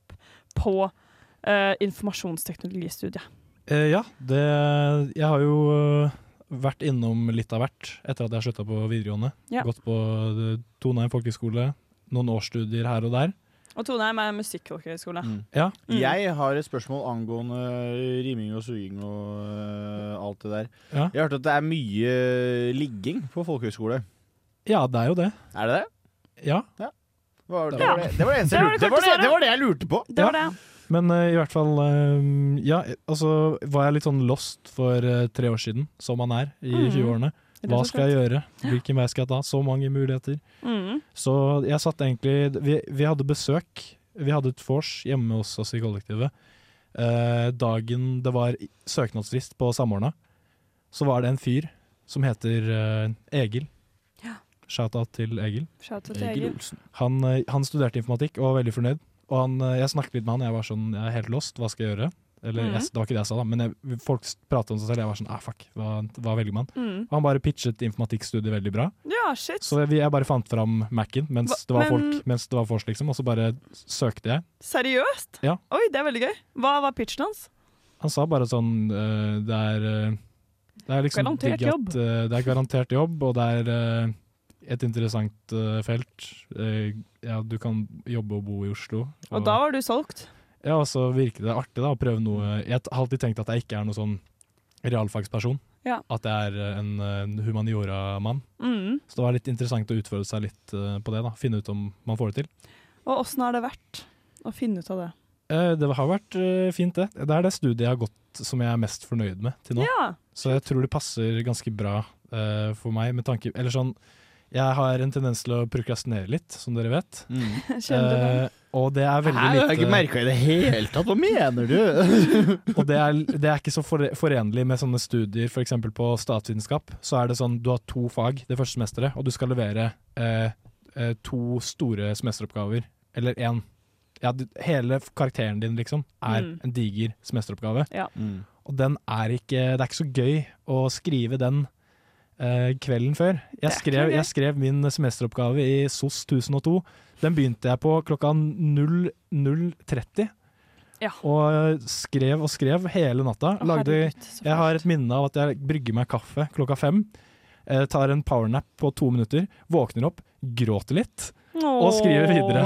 på eh, informasjonsteknologistudiet?
Eh, ja, det Jeg har jo eh, vært innom litt av hvert etter at jeg slutta på videregående.
Ja.
Gått på eh, Toneheim folkehøgskole, noen årsstudier her og der.
Og Toneheim er musikkfolkehøgskole.
Ja.
Jeg har et spørsmål angående eh, riming og suging og eh, alt det der.
Ja.
Jeg har hørt at det er mye ligging på folkehøyskole.
Ja, det er jo det.
Er det det?
Ja.
Var- Det var
Ja.
det, det, var det eneste jeg lurte det var det, det var det jeg lurte på.
Ja. Men eh, i hvert fall eh, Ja, altså var jeg litt sånn lost for eh, tre år siden, som man er i
Mm.
20-årene.
Det er
Hva
så
skal jeg gjøre? Hvilken vei skal jeg ta? Så mange muligheter.
Mm.
Så jeg satt egentlig Vi, vi hadde besøk. Vi hadde et vors hjemme hos oss i kollektivet. Eh, dagen det var i- søknadsfrist på Samordna, så var det en fyr som heter eh, Egil. Shout-out til Egil.
Shout-out til Egil Egil. Olsen.
Han, eh, han studerte informatikk og var veldig fornøyd. Og han, eh, jeg snakket litt med han, jeg var sånn, jeg er helt lost, hva skal jeg gjøre? Eller
Mhm.
jeg, det var ikke det jeg sa, da, men jeg, folk pratet om seg selv, jeg var sånn, ah fuck, hva, hva velger man?
Mhm.
Og han bare pitchet informatikkstudiet veldig bra.
Ja, shit.
Så vi, jeg bare fant fram Mac-en mens,
Hva-
det var
men-
folk- mens det var vors, liksom, og så bare søkte jeg.
Seriøst?
Ja.
Oi, det er veldig gøy. Hva var pitchen hans?
Han sa bare sånn eh, Det er, eh, det er liksom
Garantert
digg at,
jobb.
eh, det er garantert jobb, og det er eh, et interessant eh, felt. Eh, ja, du kan jobbe og bo i Oslo.
Og da var du solgt.
Ja, og så virker det artig da, å prøve noe Jeg har alltid tenkt at jeg ikke er noen sånn realfagsperson.
Ja.
At jeg er eh, en, eh, en humaniora-mann.
Mhm.
Så det var litt interessant å utfordre seg litt eh, på det. da, Finne ut om man får det til.
Og åssen har det vært å finne ut av det?
Eh, Det har vært eh, fint, det. Det er det studiet jeg har gått som jeg er mest fornøyd med til nå.
Ja.
Så jeg tror det passer ganske bra eh, for meg, med tanke Eller sånn Jeg har en tendens til å prokrastinere litt, som dere vet.
Kjenner
Eh, og det er veldig
Hæ,
lite
Mm. jeg har ikke merket i det hele tatt. Hva mener du?
og det er, det er ikke så fore- forenlig med sånne studier, f.eks. på statsvitenskap. Så er det sånn du har to fag det første semesteret, og du skal levere eh, eh, to store semesteroppgaver. Eller én. Ja, du, hele f- karakteren din, liksom, er
Mm.
en diger semesteroppgave.
Ja.
Mm.
Og den er ikke Det er ikke så gøy å skrive den eh, kvelden før. Jeg skrev, jeg skrev min semesteroppgave i SOS 1002. Den begynte jeg på klokka 0, 0.30.
Ja.
Og skrev og skrev hele natta.
Å,
Lagde,
herregud, så
jeg har et minne av at jeg brygger meg kaffe klokka fem. eh, Tar en powernap på to minutter, våkner opp, gråter litt og skriver videre.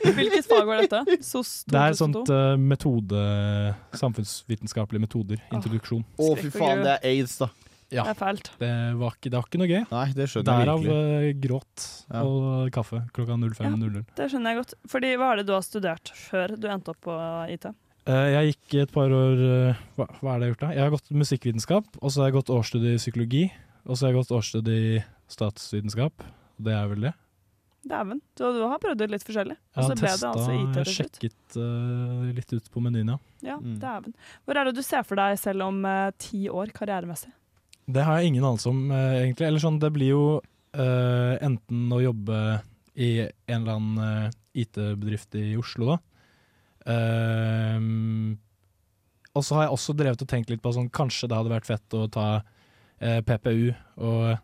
Hvilket fag var dette? SOS 2002?
Det er sånt eh, metode Samfunnsvitenskapelige metoder. Introduksjon.
Å, fy faen, det er aids, da.
Det er fælt.
Det var ikke, det var ikke noe gøy.
Nei, det skjønner jeg
Derav
virkelig.
eh, gråt og kaffe klokka 05.00.
Det skjønner jeg godt. Fordi hva er det du har studert før du endte opp på IT?
Eh, Jeg gikk et par år eh, hva, hva er det jeg har gjort da? Jeg har gått musikkvitenskap, og så har jeg gått årsstudie i psykologi. Og så har jeg gått årsstudie i statsvitenskap. Det er vel det.
Dæven. Du, du har prøvd ut litt forskjellig. Og så
Jeg har
ble det
testa
altså IT til slutt.
sjekket eh, litt ut på menyen, ja.
Ja,
Mm.
dæven. Hvor er det du ser for deg selv om eh, ti år karrieremessig?
Det har jeg ingen anelse om, eh, egentlig. Eller sånn, det blir jo eh, enten å jobbe i en eller annen eh, IT-bedrift i Oslo, da. Ehm, og så har jeg også drevet og tenkt litt på sånn, kanskje det hadde vært fett å ta eh, PPU og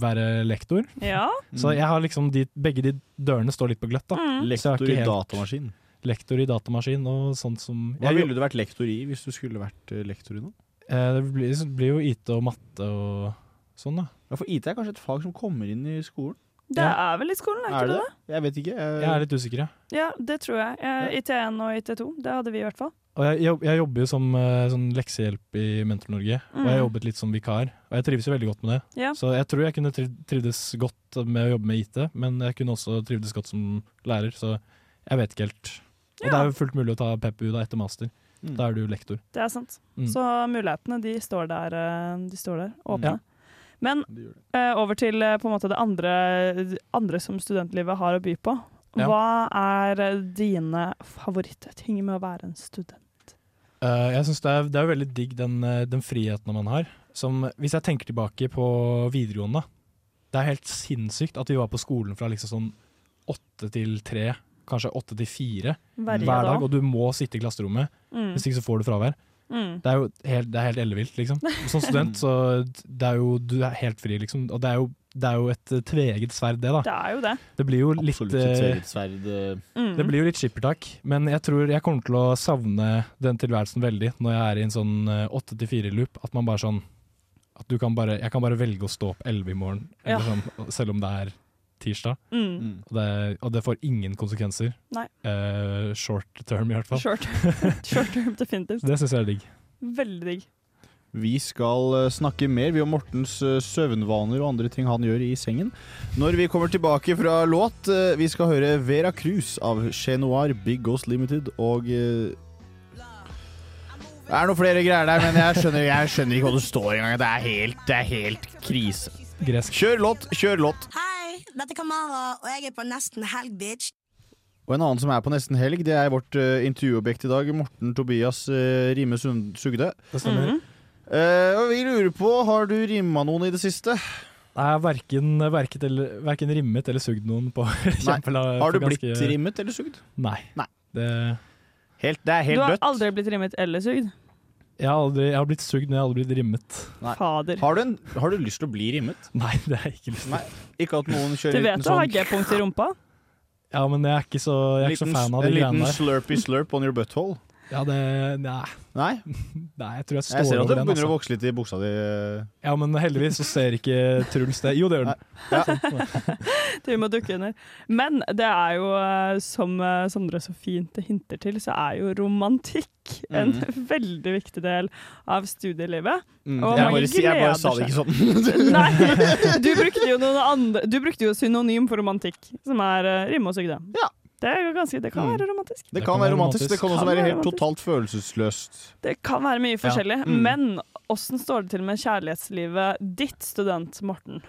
være lektor.
Ja.
Så jeg har liksom de, begge de dørene står litt på gløtt, da.
Mm.
Så jeg har
Lektor
ikke
i
helt-
datamaskin.
Lektor i datamaskin og sånt som
Hva
Jeg-
ville du vært lektor i hvis du skulle vært eh, lektor i noe?
Eh, Det blir, det blir jo IT og matte og sånn, da.
Ja, for IT er kanskje et fag som kommer inn i skolen?
Det er vel i skolen, er, ikke det det?
Jeg vet ikke. Jeg,
Jeg er litt usikker, ja.
Ja, det tror jeg. Eh, IT1 og IT2, det hadde vi i hvert fall.
Og jeg, jeg, jeg jobber jo som eh, sånn leksehjelp i Mentor Norge, og jeg
Mhm.
har jobbet litt som vikar. Og jeg trives jo veldig godt med det.
Ja.
Så jeg tror jeg kunne triv- trivdes godt med å jobbe med IT, men jeg kunne også trivdes godt som lærer, så jeg vet ikke helt. Og det er jo fullt mulig å ta PPU da etter master.
Mm.
Da er du lektor.
Det er sant.
Mm.
Så mulighetene, de står der, eh, de står der åpne.
Ja.
Men eh, over til eh, på en måte det andre, det andre som studentlivet har å by på.
Ja.
Hva er eh, dine favorittting med å være en student?
Eh, jeg synes det, er, det er jo veldig digg den, eh, den friheten man har. Som, hvis jeg tenker tilbake på videregående, det er helt sinnssykt at vi var på skolen fra liksom sånn åtte til tre, kanskje åtte til fire
Hver
hver
dag.
dag, og du må sitte i klasserommet.
Mm.
Hvis ikke så får du fravær.
Mm.
Det er jo helt, det er helt ellevilt, liksom. Som student så det er jo, du er helt fri, liksom. Og det er jo, det er jo et eh, tveegget sverd, det, da.
Det er jo det.
Det blir jo litt
Absolutt et
eh,
eget sverd. eh.
Mm.
det blir jo litt skippertak, men jeg tror jeg kommer til å savne den tilværelsen veldig når jeg er i en sånn eh, 8-4-loop. At man bare sånn At du kan bare Jeg kan bare velge å stå opp 11 i morgen,
Ja.
eller sånn, selv om det er tirsdag.
Mm.
Og, det, og det får ingen konsekvenser.
Nei.
Eh, short term, i hvert fall.
Short, short term, definitivt.
Det syns jeg er digg.
Veldig digg.
Vi skal eh, snakke mer vi om Mortens eh, søvnvaner og andre ting han gjør i sengen. Når vi kommer tilbake fra låt, eh, vi skal høre Vera Cruz av Chat Noir, Big Ghost Limited og eh, Det er noen flere greier der, men jeg skjønner, jeg skjønner ikke hva det står engang. Det er helt, det er helt krise. Kjør låt, kjør låt.
Hei, dette er Kamara, og jeg er på nesten helg, bitch.
Og en annen som er på nesten helg, det er vårt eh, intervjuobjekt i dag. Morten Tobias eh, Rime Sund- Sugde.
Det stemmer.
Mm.
Mhm.
Eh, og vi lurer på, har du rimma noen i det siste?
Nei, jeg har verken, verket eller, verken rimmet eller sugd noen på kjempela-
Har du
på
blitt
ganske-
rimmet eller sugd?
Nei. Det,
det er
du har aldri blitt rimmet eller sugd?
jeg, har aldri, jeg har blitt sugd, men jeg har aldri blitt rimmet.
Fader.
Har du, en, har du lyst til å bli rimmet?
Nei, det har jeg ikke lyst til.
Nei, ikke at noen
Du
kjører
vet
uten
du har
sånn
G-punkt i rumpa?
Ja, men jeg er ikke så, jeg er ikke så
liten,
fan av de
En
greiene
liten
der.
slurpy slurp on your butthole.
Ja, det Nei.
Nei?
Nei, jeg tror jeg
Jeg
står
ser at
over
det
den.
begynner å
Altså.
vokse litt i buksa di. eh.
Ja, men heldigvis så ser ikke Truls det. Jo, det gjør den.
Du må dukke under. Men det er jo, eh, som eh, Sondre så fint hinter til, så er jo romantikk en
Mhm.
veldig viktig del av studielivet.
Mm,
Og
jeg
mange
bare si- jeg bare
gleder
sa det
seg.
ikke sånn.
Nei, du brukte jo noen andre Du brukte jo synonym for romantikk, som er eh, rimme og sugde. Det, er jo ganske, det kan være romantisk.
Det kan være romantisk, det kan også være helt
romantisk.
totalt følelsesløst.
Det kan være mye forskjellig,
Mm.
men åssen står det til med kjærlighetslivet ditt, student Morten?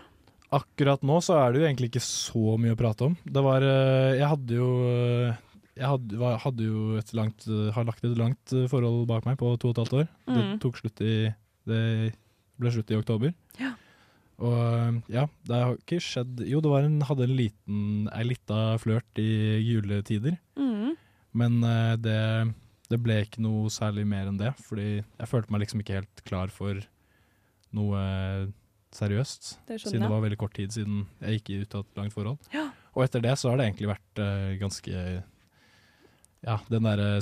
Akkurat nå så er det jo egentlig ikke så mye å prate om. Det var eh, Jeg hadde jo eh, jeg hadde, var- hadde jo et langt eh, har lagt et langt eh, forhold bak meg på to og et halvt år. Det
Mm.
tok slutt i Det ble slutt i oktober.
Ja.
Og eh, ja, det har ikke skjedd Jo, det var en, hadde en liten, ei lita flørt i juletider.
Mm.
Men eh, det, det ble ikke noe særlig mer enn det, fordi jeg følte meg liksom ikke helt klar for noe eh, seriøst.
Det skjønner
Siden
jeg.
det var veldig kort tid siden jeg gikk ut av et langt forhold.
Ja.
Og etter det så har det egentlig vært eh, ganske Ja, den derre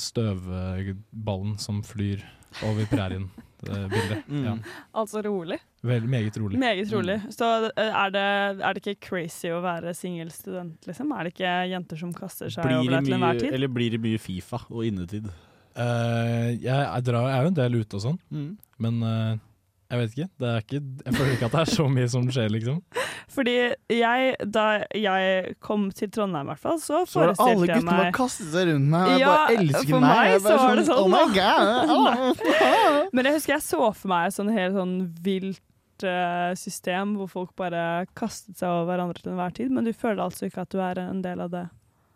støvballen som flyr over prærien. Det bildet. Ja.
Altså rolig.
Vel, meget rolig.
Meget
Mm.
rolig. Så eh, er det, er det ikke crazy å være singelstudent, liksom? Er det ikke jenter som kaster seg
Blir
over
det
deg til
mye,
enhver tid?
eller blir det mye Fifa og innetid?
Eh, jeg, jeg, drar, jeg er jo en del ute og sånn,
Mm.
men eh, jeg vet ikke. Det er ikke. Jeg føler ikke at det er så mye som skjer, liksom.
Fordi jeg, da jeg kom til Trondheim i hvert fall, så
Så var det
forestilte jeg meg
alle guttene bare kastet seg rundt meg. Jeg
Ja,
bare elsker
for
meg.
meg
Jeg bare
så var det sånn,
Oh my
da.
god. ah.
Nei. Men jeg husker jeg så for meg et sånn helt sånn vilt eh, system hvor folk bare kastet seg over hverandre til enhver tid, men du føler altså ikke at du er en del av det.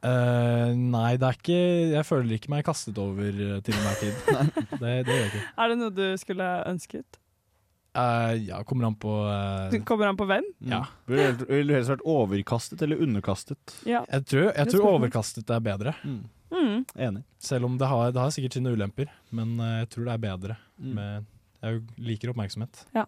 Eh, nei, det er ikke Jeg føler ikke meg kastet over eh, til enhver tid. det, det gjør jeg ikke.
Er det noe du skulle ønsket?
Eh, ja, kommer an på eh,
Det kommer an på hvem.
Ja.
Ville du- ville du helst vært overkastet eller underkastet?
Ja.
Jeg tror, jeg
Det
tror
spørs.
overkastet er bedre.
Mm.
Enig. Mm.
Selv om det har, det har sikkert sine ulemper, men eh, jeg tror det er bedre med Jeg liker oppmerksomhet.
Ja.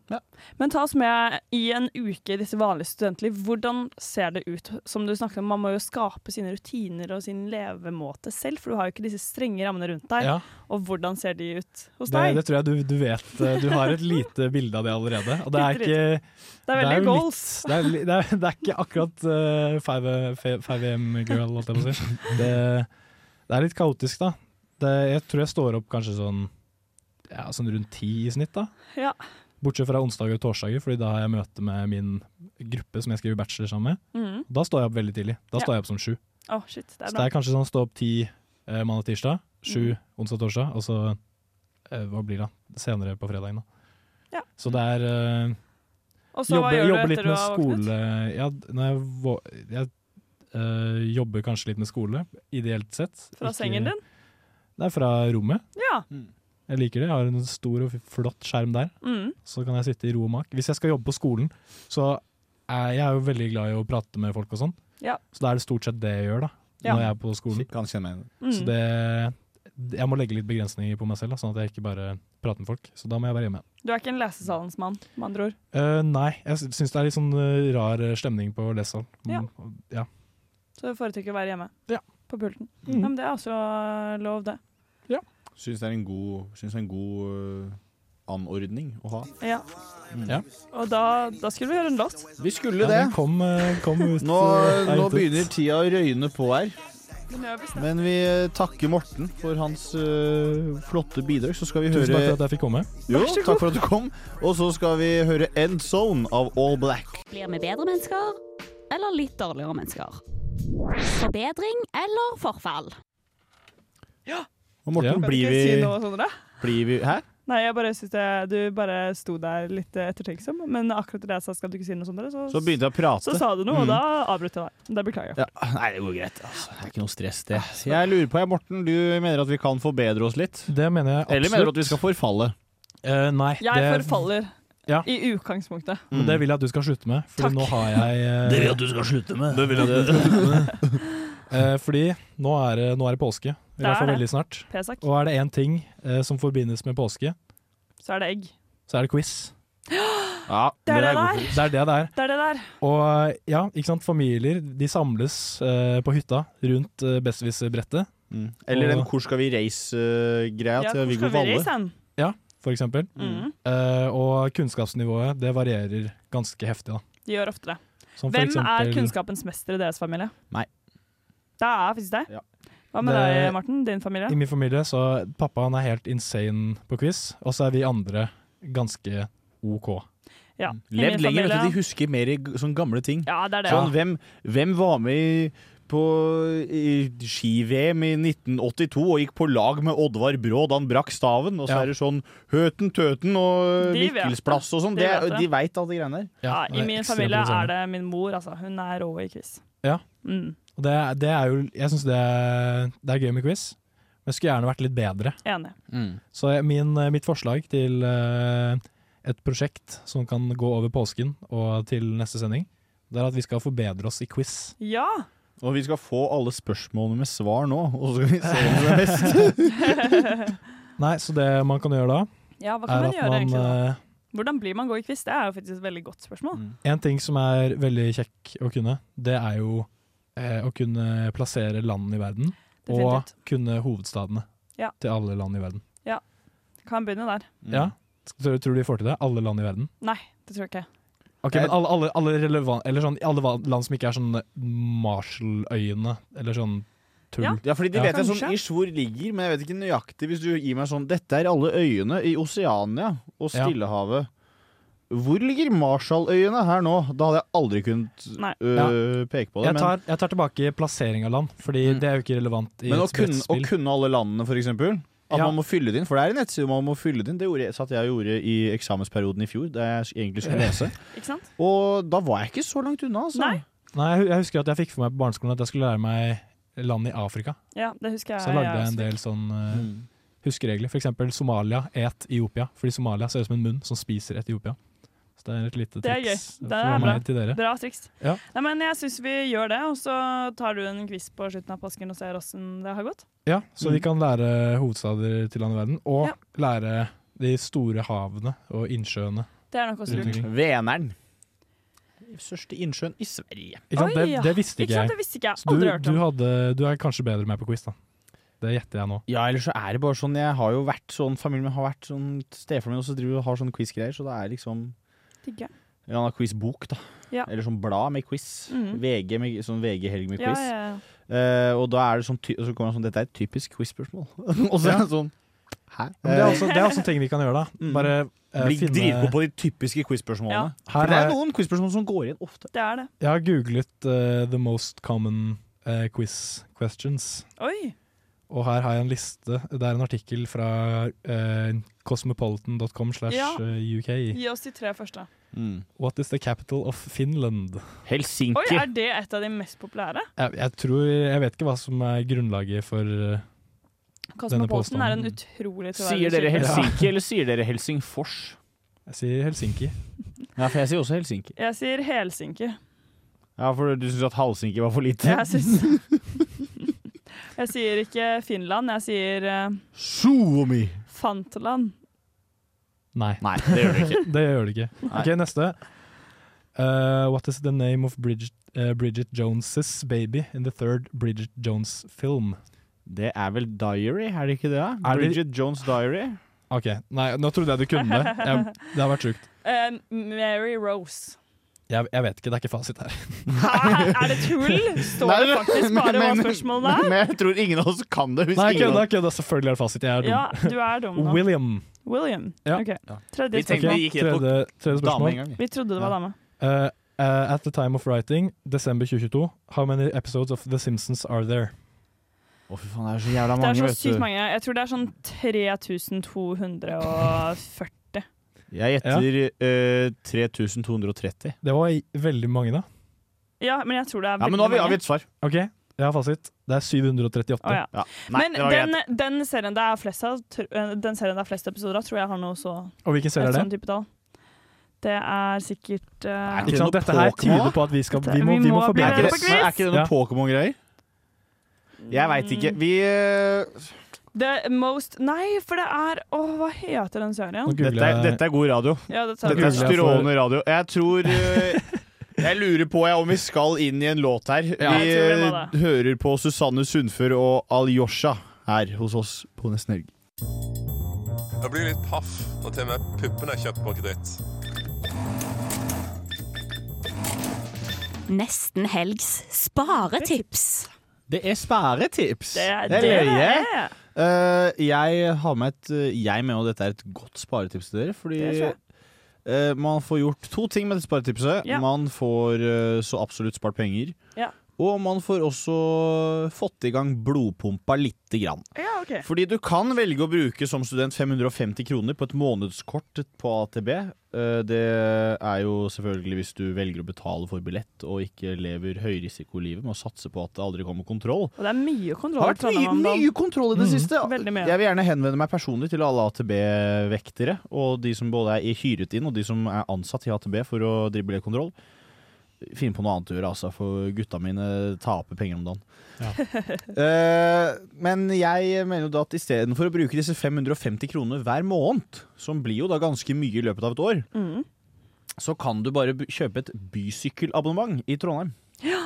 Men ta oss med i en uke i disse vanlige studentliv. Hvordan ser det ut? Som du snakket om, Man må jo skape sine rutiner og sin levemåte selv, for du har jo ikke disse strenge rammene rundt deg.
Ja.
Og hvordan ser de ut hos
Det,
deg?
det tror jeg du, du vet. eh, Du har et lite bilde av det allerede. Og det er
Bitte
ikke
lite. Det er veldig
jo
goals.
Litt, det, er, li- det, er, det er ikke akkurat eh, 5 fe- 5 am girl, holdt jeg på å si. Det, det er litt kaotisk, da. Det, jeg tror jeg står opp kanskje sånn, ja, sånn rundt ti i snitt, da.
Ja.
Bortsett fra onsdager og torsdager, Fordi da har jeg møte med min gruppe som jeg skriver bachelor sammen med.
Mhm.
Da står jeg opp veldig tidlig. Da
Ja.
står jeg opp som sju.
Å, shit, det er
så
bra.
det er kanskje sånn stå opp ti eh, mandag tirsdag, sju
Mhm.
onsdag torsdag, og så eh, hva blir det? da? Senere på fredagen, da.
Ja.
Så det er eh,
Og så hva gjør du etter du
litt med
har våknet?
skole ja, d- når jeg, vå- jeg eh, jobber kanskje litt med skole, ideelt sett.
Fra sengen din?
Nei, fra rommet.
Ja.
Jeg liker det. Jeg har en stor og f- flott skjerm der.
Mm.
Så kan jeg sitte i ro og mak. Hvis jeg skal jobbe på skolen, så er jeg er jo veldig glad i å prate med folk og sånn.
Ja.
Så da er det stort sett det jeg gjør da,
Ja.
når jeg er på skolen.
Mm.
Så det, jeg må legge litt begrensninger på meg selv, da, sånn at jeg ikke bare prater med folk. Så da må jeg være hjemme.
Du er ikke en lesesalens mann, med andre ord.
Eh, nei, jeg sy- syns det er litt sånn eh, rar stemning på lesesal.
Ja.
Mm, ja.
Så du foretrekker å være hjemme. På pulten.
Mhm.
Ja, men det er også lov, det.
Syns det er en god, synes det er en god øh, anordning å ha.
Ja.
Mm.
Og da, da skulle vi høre en låt.
Vi skulle
Ja,
det.
den kom, eh, kom ut.
Nå, øh,
eh, er
nå
ute.
begynner tida å røyne på her.
Den gjør vi snart.
Men vi eh, takker Morten for hans eh, flotte bidrag. Så skal vi høre
Tusen takk for at jeg fikk komme.
Jo,
Vær så god.
takk for at du kom. Og så skal vi høre End Zone av All Black.
Blir vi bedre mennesker, eller litt dårligere mennesker? Forbedring eller forfall?
Og Morten,
Kan du
blir
ikke
vi,
si noe, sånn Sondre?
blir vi Hæ?
Nei, jeg bare synes det, du bare sto der litt eh, ettertenksom, men akkurat det jeg sa skal du ikke si noe, Sondre, så,
Så begynte jeg å prate.
så sa du noe, og
Mm.
da avbrøt jeg deg. Det beklager jeg.
Ja, nei, det går greit. Altså, det er ikke noe stress, det. Jeg lurer på, jeg, Morten, du mener at vi kan forbedre oss litt?
Det mener jeg absolutt.
Eller mener du at vi skal forfalle?
Eh, nei,
Jeg forfaller
Ja.
i utgangspunktet.
Men det vil jeg at du skal slutte med, for nå har jeg
Mm.
eh,
Det vil jeg at du skal slutte med.
Det vil jeg at du skal slutte med. Eh, fordi nå er, det- nå er det påske, i
Det
hvert fall
er det.
veldig snart.
Pesak.
Og er det én ting eh, som forbindes med påske,
Så er det egg.
så er det quiz.
Det er det det er.
Det er det det er.
Det er det der.
Og eh, ja, ikke sant, familier de samles eh, på hytta rundt uh, Besserwisser-brettet.
Mm. Eller den
Og-
Hvor skal vi reise-greia
Ja,
til
hvor
Viggo
skal vi
Valle.
reise hen? Ja, for eksempel.
Mhm.
Eh, og kunnskapsnivået det varierer ganske heftig, da.
De gjør ofte det.
Som for
Hvem
eksempel-
er kunnskapens mester i deres familie?
Meg.
Det er faktisk deg. Hva med deg,
Det-
Marten? Din familie?
I min familie så pappa han er helt insane på quiz, og så er vi andre ganske OK.
Ja. I
Levd
min
lenger, vet
familie-
du. De husker mer i g- sånne gamle ting.
Ja, det er det.
Sånn,
Ja.
hvem, hvem var med i- på i ski-VM i 1982 og gikk på lag med Oddvar Brå da han brakk staven? Og så
Ja.
er det sånn Høten, Tøten og
De vet det.
Mikkelsplass og sånn.
De
De,
vet det.
de veit alle de greiene der.
Ja, I min familie er det min mor, altså. Hun er rå i quiz.
Ja.
Mm.
Og det, det er jo Jeg syns det, er- det er gøy med quiz, men skulle gjerne vært litt bedre.
Enig.
Så jeg- min, mitt forslag til eh, et prosjekt som kan gå over påsken og til neste sending, det er at vi skal forbedre oss i quiz.
Ja!
Og vi skal få alle spørsmålene med svar nå, og så skal vi se om det er best.
Nei, så det man kan gjøre da,
Ja, hva kan man
at
gjøre egentlig da?
eh,
Hvordan blir man god i quiz? Det er jo faktisk et veldig godt spørsmål.
En ting som er veldig kjekk å kunne, det er jo eh, å kunne plassere landene i verden.
Definitivt.
Og kunne hovedstadene
Ja.
til alle land i verden.
Ja.
Mm.
Kan begynne der.
Ja? Tror, tror du de får til det? Alle land i verden?
Nei, det tror jeg ikke.
Ok, men alle, alle, alle, relevan- eller sånn, alle va- land som ikke er sånn Marshalløyene, eller sånn tull.
Ja, fordi de vet jeg sånn ish hvor ligger, men jeg vet ikke nøyaktig hvis du gir meg sånn Dette er alle øyene i Oseania og
Ja.
Stillehavet. Hvor ligger Marshalløyene her nå? Da hadde jeg aldri kunnet øh,
Ja.
peke på det. Mm.
Jeg tar, jeg tar tilbake plassering av land, Fordi det er jo ikke relevant i
men men å,
et
kunne, å
brettspill.
kunne alle landene, for eksempel. At
Ja.
man må fylle det inn, for det er en nettside man må fylle det inn. Det gjorde jeg, satt jeg og gjorde i eksamensperioden i fjor, da jeg egentlig skulle lese.
Ikke sant?
Og da var jeg ikke så langt unna, altså.
Nei.
Nei, jeg hu- jeg husker at jeg fikk for meg på barneskolen at jeg skulle lære meg land i Afrika.
Ja, det husker jeg.
Så lagde jeg
også
en
fikk.
del sånn eh,
Mm.
huskeregler. For eksempel Somalia et Etiopia. Fordi Somalia ser ut som en munn som spiser Etiopia. Så det er et lite
Det er gøy.
triks
Det er
fra
bra.
meg til dere.
Bra triks.
Ja.
Nei, men jeg syns vi gjør det, og så tar du en quiz på slutten av påsken og ser åssen det har gått.
Mm.
Ja, så vi kan lære hovedstader til land i verden, og lære De store havene og innsjøene.
Det er nok også lurt.
Utvikling.
Veneren. Største innsjøen i Sverige.
Ikke sant?
Oi, ja.
Det, det visste
Ikke
ikke
sant,
jeg.
det visste ikke jeg.
Så du,
Aldri hørt
du,
om.
hadde, du er kanskje bedre med på quiz, da. Det gjetter jeg nå.
Ja, eller så er det bare sånn Jeg har jo vært sånn Familien min har vært sånn Stefaren min også driver og har sånne quiz-greier, så det er liksom
Digger.
Ja, han har quiz-bok, da.
Ja.
Eller sånn blad med quiz.
Mhm.
VG med, sånn VG-helg med
Ja,
quiz.
ja, ja.
Eh, og da er det sånn, ty og så kommer det sånn Dette er et typisk quiz-spørsmål. og så er det sånn Hæ?
Men det, er
altså-
også, det er også ting vi kan gjøre, da. Bare eh,
Eh, Mm. Bli dritgod
finne
på de typiske quiz-spørsmålene.
Her
For det er
er-
noen quiz-spørsmål som går igjen ofte.
Det er det.
Jeg har googlet eh, the most common eh, quiz questions.
Oi.
Og her har jeg en liste. Det er en artikkel fra eh, cosmopolitan.com slash
Ja.
eh, UK.
Gi oss de tre første.
Mm.
What is the capital of Finland?
Helsinki.
Oi, er det et av de mest populære?
Jeg, jeg tror Jeg vet ikke hva som er grunnlaget for eh, denne
Cosmopolitan er en
påstanden.
utrolig
Sier
troverdig
dere
kilde.
Helsinki, eller sier dere Helsingfors?
Jeg sier Helsinki.
Ja, for jeg sier også Helsinki.
Jeg sier Helsinki.
Ja, for du syns at Helsinki var for lite?
Jeg syns Jeg sier ikke Finland, jeg sier eh,
Suomi.
Fanteland.
Nei.
Nei, det gjør det ikke.
det gjør det ikke.
Nei.
Ok, neste. Uh, what is the name of Bridget, eh, Bridget Jones' baby in the third Bridget Jones film?
Det er vel Diary, er det ikke det? da?
Er det-
Bridget Jones Diary.
Ok, nei, nå trodde jeg du kunne det. Jeg, det har vært sjukt.
Eh, Mary Rose.
Jeg, jeg vet ikke, det er ikke fasit her.
Hæ, er det tull? Står
Nei,
det faktisk bare hva
men-
spørsmålet
Men,
er?
men jeg tror ingen av oss kan det. hvis
Nei,
ingen av-
kødda, kødda. Selvfølgelig er det fasit. Jeg er
Ja,
dum.
du er dum nå.
William.
William.
Ja.
Ok. Tredje
Vi tenkte
spørsmål.
vi gikk rett på Tredje- tredje spørsmål. dame en gang, vi.
Vi trodde det var dame.
Uh, uh, at the time of writing, desember 2022, how many episodes of The Simpsons are there?
Å, fy faen, det er så jævla
Det er så sykt mange. Jeg tror det er sånn 3240.
Jeg gjetter eh, 3230.
Det var i- veldig mange, da.
Ja, men jeg tror det er
Ja, men
veldig
nå har vi
mange.
avgitt svar.
Ok, jeg har fasit. Det er 738.
Å, ja.
Nei, det var
men
greit.
den, den serien det er flest av, tr- eh, den serien det er flest episoder av, tror jeg har noe så
Og hvilken serie
et
er det?
sånn type tall. Det er sikkert eh,
Ikke sant? Dette her tyder på at vi, skal, vi, må, vi må
bli
forbedre
bedre
oss.
på quiz.
Er ikke det noen Pokémon-greier? Jeg veit ikke. Vi eh,
The most Nei, for det er Å, hva heter den serien?
dette, er- dette er god radio.
Ja, dette er
Dette er
god radio.
strålende radio. Jeg tror eh, Jeg lurer på jeg, om vi skal inn i en låt her. Vi
Jeg tror vi
eh,
må
hører på Susanne Sundfør og Alyosha her hos oss på Nesten Helg.
Jeg blir litt paff når til og med puppene er kjøpt på kreditt.
Nesten helgs sparetips.
Det er sparetips.
Det er
er
det
løye.
det er.
Eh, jeg har med et eh, Jeg mener dette er et godt sparetips til dere, fordi
Det tror jeg.
eh, man får gjort to ting med dette sparetipset.
Ja.
Man får eh, så absolutt spart penger.
Ja.
Og man får også fått i gang blodpumpa lite grann.
Ja, ok.
Fordi du kan velge å bruke som student 550 kroner på et månedskort på AtB. Eh, Det er jo selvfølgelig hvis du velger å betale for billett og ikke lever høyrisikolivet med å satse på at det aldri kommer kontroll.
Og det er mye kontroll.
Har vært
i Trondheim om
mye-
dagen.
mye kontroll i det siste.
Veldig mye.
Jeg vil gjerne henvende meg personlig til alle AtB-vektere, og de som både er hyret inn, og de som er ansatt i AtB for å drible kontroll. Finn på noe annet å gjøre, altså, for gutta mine taper penger om dagen. Eh, men jeg mener jo da at istedenfor å bruke disse 550 kronene hver måned, som blir jo da ganske mye i løpet av et år,
Mm.
så kan du bare b- kjøpe et bysykkelabonnement i Trondheim.
Ja.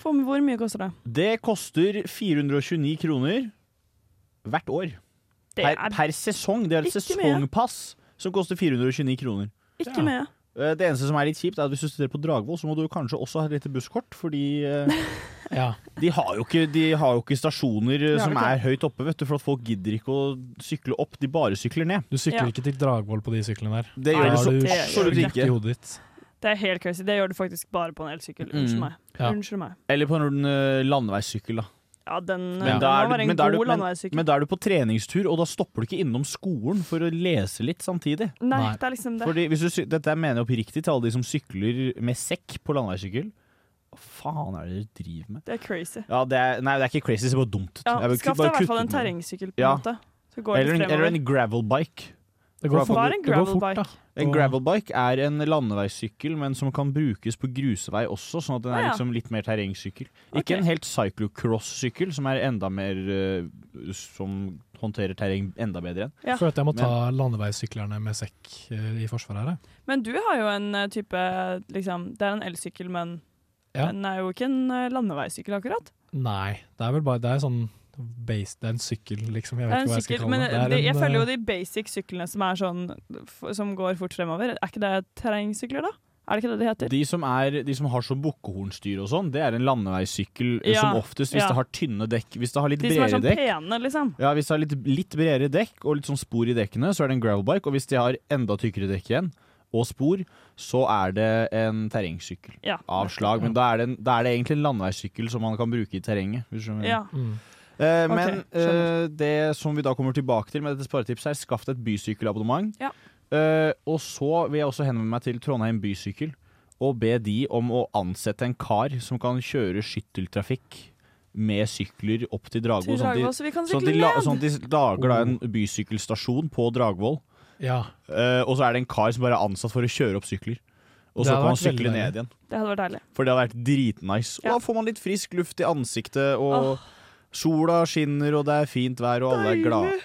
For hvor mye koster det?
Det koster 429 kroner hvert år.
Det
Per,
er
per sesong. Det er et
ikke
sesongpass som koster 429 kroner.
Ikke mye.
Eh, Det eneste som er litt kjipt, er at hvis du studerer på Dragvoll, så må du kanskje også ha et lite busskort, fordi eh, de, har jo ikke, de har jo ikke stasjoner eh,
Det har
som
de ikke.
er høyt oppe, vet du, for at folk gidder ikke å sykle opp, de bare sykler ned.
Du sykler ikke til Dragvoll på de syklene der.
Det gjør
Da
du
har
så
du
absolutt
sjekk
ikke.
i hodet ditt.
Det er helt crazy. Det gjør du faktisk bare på en elsykkel. Unnskyld
Mm.
meg.
Ja.
Unnskyld meg.
Eller på en eh, landeveissykkel, da.
Ja, den,
Men
den må
da, er
være
du,
en
men, da er du,
god
men,
landeveissykkel.
men da er du på treningstur, og da stopper du ikke innom skolen for å lese litt samtidig.
Nei, Nei. det er liksom det.
Fordi hvis du, sy- dette mener jeg oppriktig til alle de som sykler med sekk på landeveissykkel. Hva faen er det dere driver med?
Det er crazy.
Ja, det er, nei, det er ikke crazy, det er bare dumt.
Ja,
Jeg vil
Skaff
bare
deg i
kutte
hvert fall en
den.
terrengsykkel, på en
Ja.
måte. Så går
Eller en,
litt
eller
fremover.
en gravelbike.
Det går fort-
Hva er en
det går fort,
gravelbike?
En gravelbike er en landeveissykkel, men som kan brukes på grusvei også, sånn at den
Ah,
er
ja.
liksom litt mer terrengsykkel.
Ok.
Ikke en helt cyclocross-sykkel, som er enda mer eh, som håndterer terreng enda bedre enn.
Ja.
Føler at jeg må ta
Men-
landeveissyklerne med sekk eh, i forsvaret her. jeg.
Men du har jo en eh, type liksom, Det er en elsykkel, men
Ja.
den er jo ikke en eh, landeveissykkel, akkurat.
Nei, det er vel bare Det er sånn base, Det er en sykkel, liksom. Jeg
Det er
vet
en
ikke hva jeg
sykkel,
skal
men
kalle det. eh,
de,
det.
jeg
eh,
føler jo de basic syklene som, er sånn, f som går fort fremover, er ikke det terrengsykler, da? Er det ikke det de heter?
De som, er, de som har sånn bukkehornstyr og sånn, det er en landeveissykkel eh,
Ja,
som oftest, hvis
ja.
det har tynne dekk, hvis det har litt
De som er
bredere
sånn
dekk
pene, liksom.
ja, Hvis det har litt, litt bredere dekk og litt sånn spor i dekkene, så er det en gravelbike. Og hvis de har enda tykkere dekk igjen, og spor, så er det en terrengsykkel
Ja.
av slag. Men da er, det en, da er det egentlig en landeveissykkel som man kan bruke i terrenget. Hvis du skjønner.
Ja.
Eh,
Ok,
men
skjønner.
eh, det som vi da kommer tilbake til med dette sparetipset, er skaff deg et bysykkelabonnement.
Ja.
Eh, og så vil jeg også henvende meg til Trondheim Bysykkel og be de om å ansette en kar som kan kjøre skytteltrafikk med sykler opp til Dragvoll.
Til
sånn at de-
Dragvoll, så vi kan
sånn at
sykle
de la-
ned.
Sånn at de lager da en bysykkelstasjon på Dragvoll,
Ja.
Eh, og så er det en kar som bare er ansatt for å kjøre opp sykler. Og så
Det hadde
kan han
vært veldig
sykle ned
deilig.
igjen.
Det hadde vært deilig.
For det hadde vært dritnice. Og da får man litt frisk luft i ansiktet, og sola skinner, og det er fint vær, og alle er glade.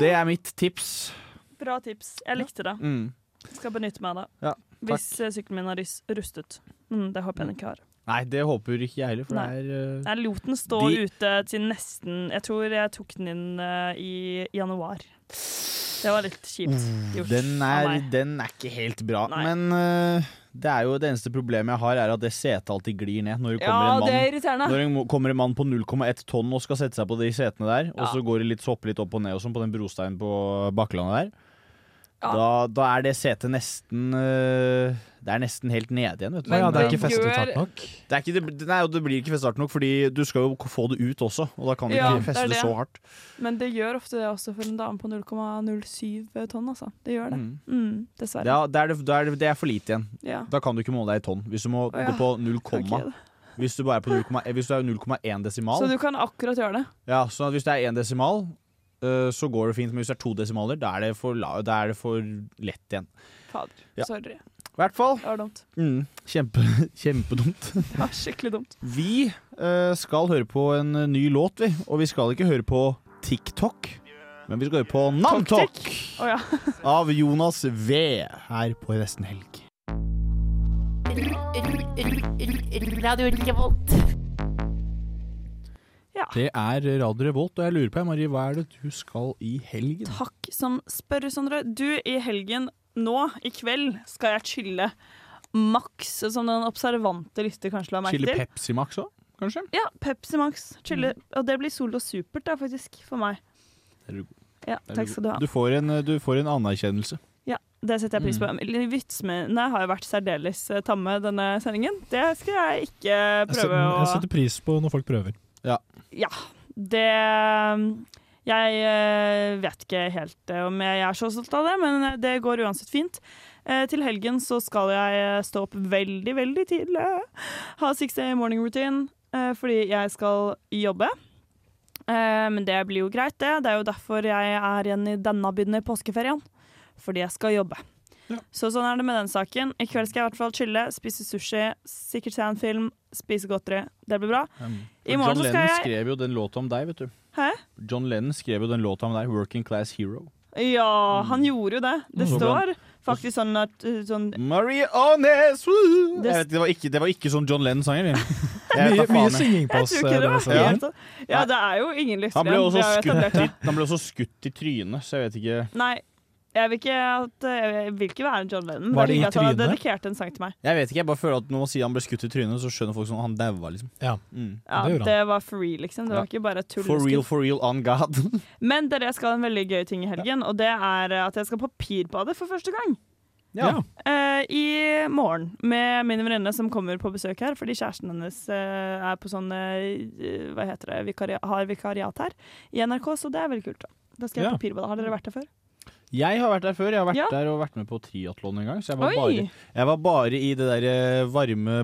Det er mitt tips.
Bra tips. Jeg likte det.
Mm.
Skal benytte meg av det.
Ja, takk.
Hvis eh, sykkelen min er rys- rustet. Mm, det håper jeg den ikke har.
Nei, det håper ikke jeg heller, for
Nei.
det er eh,
Jeg lot den stå
De-
ute til nesten Jeg tror jeg tok den inn eh, i januar. Det var litt kjipt gjort
den
av
er,
meg.
den er ikke helt bra, men eh, det er jo det eneste problemet jeg har, er at det setet alltid glir ned når det
Ja,
kommer en mann.
det er irriterende.
Når det mo- kommer en mann på 0,1 tonn og skal sette seg på de setene der, og
Ja.
så går det litt sopp litt opp og ned og sånn på den brosteinen på Bakkelandet der,
Ja.
da, da er det setet nesten eh, Det er nesten helt nede igjen, vet du.
Men Ja, det er det ikke festet gjør- hardt nok.
Det, er ikke, det, bl- nei, og det blir ikke festet hardt nok, fordi du skal jo få det ut også, og da kan du
Ja, det er
ikke feste det
det.
så hardt.
Men det gjør ofte det også for en dame på 0,07 tonn, altså. Det gjør det.
Mm.
Mm, dessverre.
Ja, det er, det, da er det, det er for lite igjen.
Ja.
Da kan du ikke måle deg i tonn. Hvis du må
Å, ja.
gå på 0, komma.
Ok.
hvis du bare er på 0,1 hvis du er 0,1 desimal
Så du kan akkurat gjøre det.
ja, sånn at Hvis det er 1 desimal, øh, så går det fint. Men hvis det er to desimaler, da er det for, la- da er det for lett igjen.
Fader.
Ja.
Sorry.
I hvert fall.
Det var dumt.
Mm, kjempe, kjempedumt.
Det var skikkelig dumt.
Vi øh, skal høre på en øh, ny låt, vi. Og vi skal ikke høre på TikTok, men vi skal høre på Namtok
Å ja.
av Jonas V her på Nesten Helg.
Radio Revolt.
Det er Radio Revolt, og jeg lurer på, Marie, hva er det du skal i helgen?
Takk som spør, Sondre. Du, i helgen nå, i kveld, skal jeg chille Max, som den observante lytter kanskje la merke
Chille
til.
Pepsi Max òg, kanskje?
Ja, Pepsi Max. Chille. Og det blir Solo Supert, da, faktisk, for meg.
Der er du god.
Ja,
Der er
takk
god.
skal du ha.
Du får en, eh, du får en anerkjennelse.
Ja, Det setter jeg pris på.
Mm.
Litt Vitsene har jo vært særdeles eh, tamme denne sendingen. Det skal jeg ikke
Jeg
prøve
setter, jeg
å
setter pris på når folk prøver.
Ja.
Ja, det Jeg eh, vet ikke helt eh, om jeg er så stolt av det, men eh, det går uansett fint. Eh, Til helgen så skal jeg eh, stå opp veldig, veldig tidlig. Ha 6A morning routine eh, fordi jeg skal jobbe. Eh, Men det blir jo greit, det. Det er jo derfor jeg er igjen i denne byen i påskeferien. Fordi jeg skal jobbe. Så sånn er det med den saken. I kveld skal jeg i hvert fall chille, spise sushi, sikkert se en film, spise godteri. Det blir bra. I morgen
Um,
så
John Lennon
skal jeg
skrev jo den låta om deg, vet du.
Hæ?
John Lennon skrev jo den låta om deg, 'Working Class Hero'.
Ja, han gjorde jo det. Det
Mm.
står faktisk sånn at uh, sånn
Marie Aanes! woo!
Det-
Jeg vet, det, var ikke, det var ikke sånn John Lennon-sang, eller?
Mye- mye synging på Jeg oss, tror ikke det eh, var denne helt
Ja.
sånn. Ja, det er jo ingen lyst
Han ble, også skutt i,
det.
han ble også skutt i trynet, så jeg vet ikke
Nei, jeg vil ikke, at, eh, jeg vil ikke være John Lennon.
Var
men
det i
hyggelig at han har
trynet?
dedikert en sang til meg.
Jeg vet ikke, jeg bare føler at når man sier han ble skutt i trynet, så skjønner folk sånn han daua, liksom. Mm.
Ja, det, var for real, liksom. Det
Ja.
var ikke bare tull.
For real, for real, on God.
Men dere jeg skal ha en veldig gøy ting i helgen, og det er eh, at jeg skal papirbade for første gang.
Ja.
Eh, I morgen med min venninne som kommer på besøk her, fordi kjæresten hennes eh, er på sånn eh, Hva heter det, vikaria, har vikariat her i NRK, så det er veldig kult. Da, da skal jeg
Ja.
papirbade. Har dere vært der før?
Jeg har vært der før. Jeg har vært
Ja.
der og vært med på triatlon en gang. Så jeg var,
Oi!
bare, jeg var bare i det der eh, varme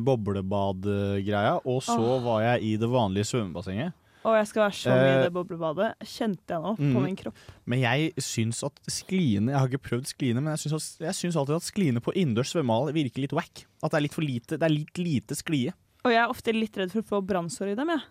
boblebad-greia, og så
Åh.
var jeg i det vanlige svømmebassenget.
Og jeg skal være så mye i
Eh,
det boblebadet. Kjente jeg nå
mm.
på min kropp.
Men jeg syns at skliene Jeg har ikke prøvd skliene, men jeg syns, at, jeg syns alltid at skliene på innendørs svømmehall virker litt wack. At det er litt for lite, det er litt lite sklie.
Og jeg er ofte litt redd for å få brannsår i dem, jeg.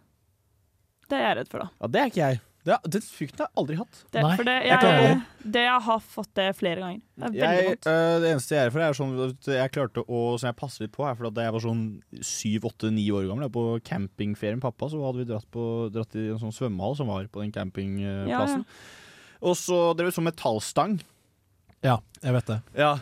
Det er jeg redd for, da.
Ja, det er ikke jeg. Det, er- den frykten har jeg aldri hatt.
Det, for det, jeg, det jeg har fått det flere ganger. Det er veldig
Jeg,
vondt.
øh, det eneste jeg er for, er sånn at jeg klarte å Som jeg passer litt på, er for at da jeg var sånn syv, åtte, ni år gammel, da, på campingferie med pappa, så hadde vi dratt, på, dratt i en sånn svømmehall som var på den
Ja, ja.
campingplassen. Og så drev vi sånn metallstang.
Ja, jeg vet det.
Ja.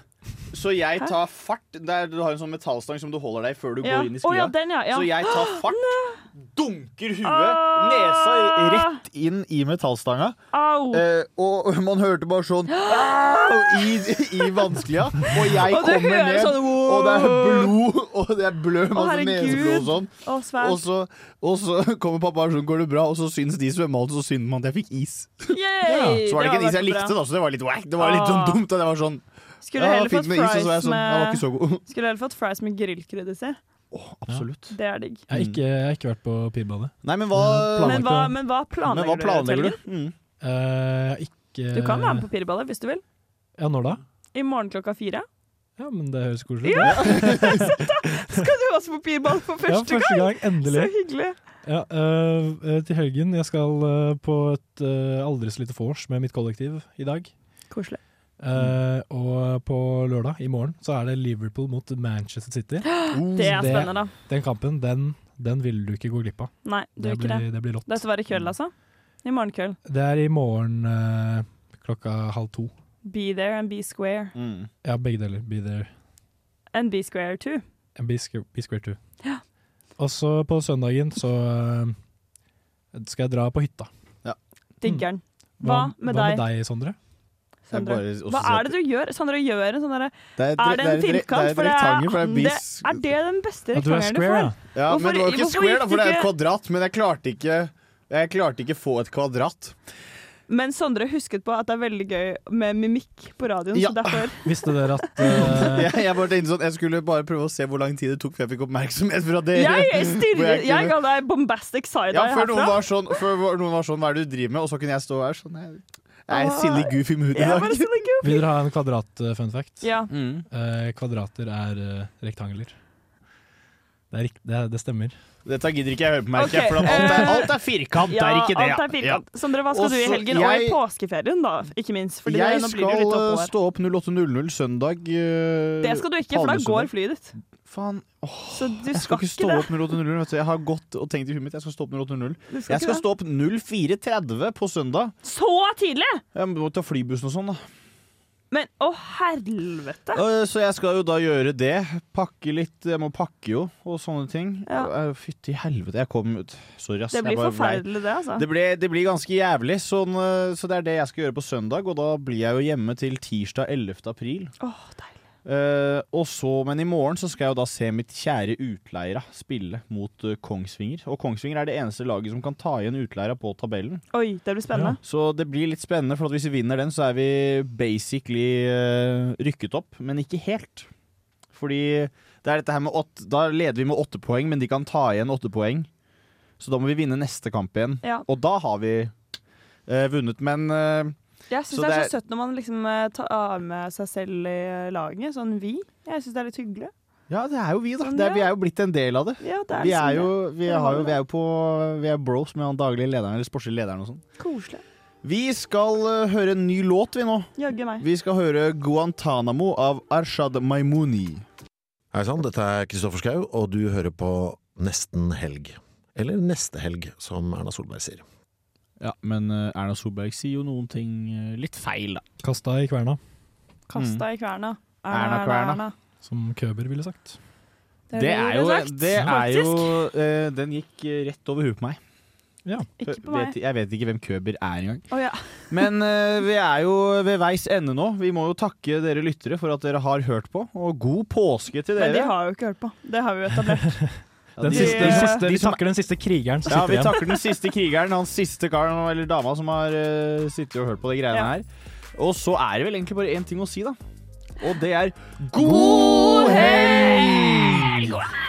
Så jeg
Hæ?
tar fart. Der du har en sånn metallstang som du holder deg i før du
Ja.
går inn
Å,
i sklia.
ja, den, ja, ja.
Så jeg tar fart, dunker huet,
Ah!
nesa rett inn i metallstanga.
Au!
Eh, og man hørte bare sånn Au! I, i vanskelia. Og jeg
Og du
kommer
hører
ned,
sånn, wow!
og det er blod, og det er blø,
Å,
masse neseblod og sånn.
Å, svært.
Og så, og så kommer pappa og sånn, går det bra? Og så syns de i svømmehallen så synd man at jeg fikk is.
Yay!
Så var det ikke en
vært
is jeg
bra.
likte, da, så det var litt wack. Det var litt sånn
Ah.
dumt. Og det var sånn
Skulle
ja,
heller
fint
fått
med is, og så var jeg
fries
sånn,
med-
jeg var ikke så god.
Skulle heller fått fries med grillkrydder i.
Absolutt.
Det er digg.
Jeg har ikke, jeg har ikke vært på pirbadet.
Nei, men hva-
Men hva, men hva planlegger, du? Tølgen?
Mm.
Eh, ikke
Du kan være med på pirballet hvis du vil.
Ja, når da?
I morgen klokka fire.
Ja, men det høres koselig
Ja!
ut.
Skal du også på pirball for første,
Ja, første gang, endelig.
Så hyggelig.
Ja, øh, øh, til helgen. Jeg skal øh, på et øh, aldri så lite vors med mitt kollektiv i dag.
Koselig. Mm.
Eh, og på lørdag, i morgen, så er det Liverpool mot Manchester City.
Det er
Så
spennende.
Den kampen, den, den vil du ikke gå glipp av.
Nei, du
det,
ikke
blir,
det.
det blir rått.
Dette var i kveld, altså? I morgen kveld.
Det er i morgen eh, klokka halv to.
Be there and be square.
Mm.
Ja, begge deler. Be there
And be square too.
and be, squ- be square too. Og så på søndagen så eh, skal jeg dra på hytta.
Digger'n. Hva med
Hva
deg?
med deg, Sondre?
Sondre? Hva er det du gjør? Sandra gjør en sånn derre
Det er et dre-
Er det en
det er et dre- det er
firkant?
et
For det
rektangel, for
er,
det er
det,
bis-
er det den beste
Ja, du er
rektangelen du,
square,
får?
ja.
Ja,
Hvorfor-
men det var jo ikke
hvorfor
square, da,
gikk
for det er
ikke-
et kvadrat. Men jeg klarte ikke Jeg klarte ikke få et kvadrat.
Men Sondre husket på at det er veldig gøy med mimikk på radioen, så derfor
Visste dere at eh,
jeg, jeg bare tenkte sånn Jeg skulle bare prøve å se hvor lang tid det tok før jeg fikk oppmerksomhet fra dere.
Jeg
Hvor
stirrer. Jeg
kunne-
ga deg bombastic side
ja,
eye
før noen,
herfra.
var sånn, før var- noen var sånn Hva er det du driver med? Og så kunne jeg stå her sånn Jeg, jeg
Ah,
er silly goofy mood i
Ja,
dag. Mm.
bare
silly
Vil dere ha en kvadrat-fun fact?
Ja.
Eh, kvadrater er eh, rektangler. Det, er, rikt- det, det stemmer.
Dette gidder ikke jeg høre på, merker jeg.
Ok,
For at alt, er,
eh,
alt er firkant, det er ikke det.
Alt er firkant. Sondre, hva skal
Og
du i
så
helgen? og i
jeg-
påskeferien, da, ikke minst. Fordi
Jeg
det, nå blir du
skal
litt
eh,
oppå her.
stå opp 08.00 søndag. eh,
Det skal du ikke, for da
palmesøndag.
går flyet ditt.
Faen.
så du
Jeg skal
skal,
ikke stå
det.
opp 08.00. vet du. Jeg har gått og tenkt i huet mitt jeg skal stå opp 08.00.
Du skal
Jeg
ikke
skal
det.
stå opp 04.30 på søndag.
Så tidlig?!
Jeg må ta flybussen og sånn, da.
Men å helvete!
Eh, Så jeg skal jo da gjøre det. Pakke litt. Jeg må pakke jo, og sånne ting. Eh, Fytti helvete, jeg kom ut. Sorry, ass.
Det
Jeg
blir
bare blei-
forferdelig, det, altså.
Det blir, det blir ganske jævlig, sånn, eh, så det er det jeg skal gjøre på søndag. Og da blir jeg jo hjemme til tirsdag 11. april. Eh, og så, men i morgen så skal jeg jo da se mitt kjære Utleira spille mot eh, Kongsvinger. Og Kongsvinger er det eneste laget som kan ta igjen Utleira på tabellen.
Oi, det blir spennende.
Så det blir litt spennende, for at hvis vi vinner den, så er vi basically eh, rykket opp, men ikke helt. Fordi det er dette her med åtte, da leder vi med åtte poeng, men de kan ta igjen åtte poeng. Så da må vi vinne neste kamp igjen.
Ja.
Og da har vi eh, vunnet, men eh,
Jeg syns
så
det er
det
så
er-
søtt når man liksom eh, tar av med seg selv i eh, laget. Sånn vi. Jeg syns det er litt hyggelig.
Ja, det er jo vi, da. Det er, vi er jo blitt en del av det.
Ja, det er
Vi
liksom
er jo,
det.
vi
Det har
har jo,
vi
vi er jo på Vi er bros med han daglige lederen, eller sportslige lederen og sånn.
Koselig.
Vi skal eh, høre en ny låt, vi nå.
Jaggu meg.
Vi skal høre Guantánamo av Arshad Maimouni.
Hei sann, dette er Kristoffer Schau, og du hører på Nesten helg. Eller Neste helg, som Erna Solberg sier.
Ja, men eh, Erna Solberg sier jo noen ting eh, litt feil, da.
Kasta i kverna,
Kasta i kverna.
Mm. Erna kverna.
som Køber ville sagt.
Det
Det
ville
er
du
jo,
sagt,
det er jo
faktisk.
eh, Den gikk eh, rett over huet på meg.
Ja.
Ikke på meg.
vet, jeg vet ikke hvem Køber er engang.
Å ja.
Men eh, vi er jo ved veis ende nå. Vi må jo takke dere lyttere for at dere har hørt på, og god påske til
Men de
dere.
har jo ikke hørt på. Det har vi jo etablert.
Den
de-
siste,
de-
den siste,
de
vi
som-
takker den siste krigeren som
Ja,
sitter
vi
igjen.
takker den siste krigeren, han siste karen eller dama som har eh, sittet og hørt på de greiene
Ja.
her. Og så er det vel egentlig bare én ting å si, da. Og det er god helg!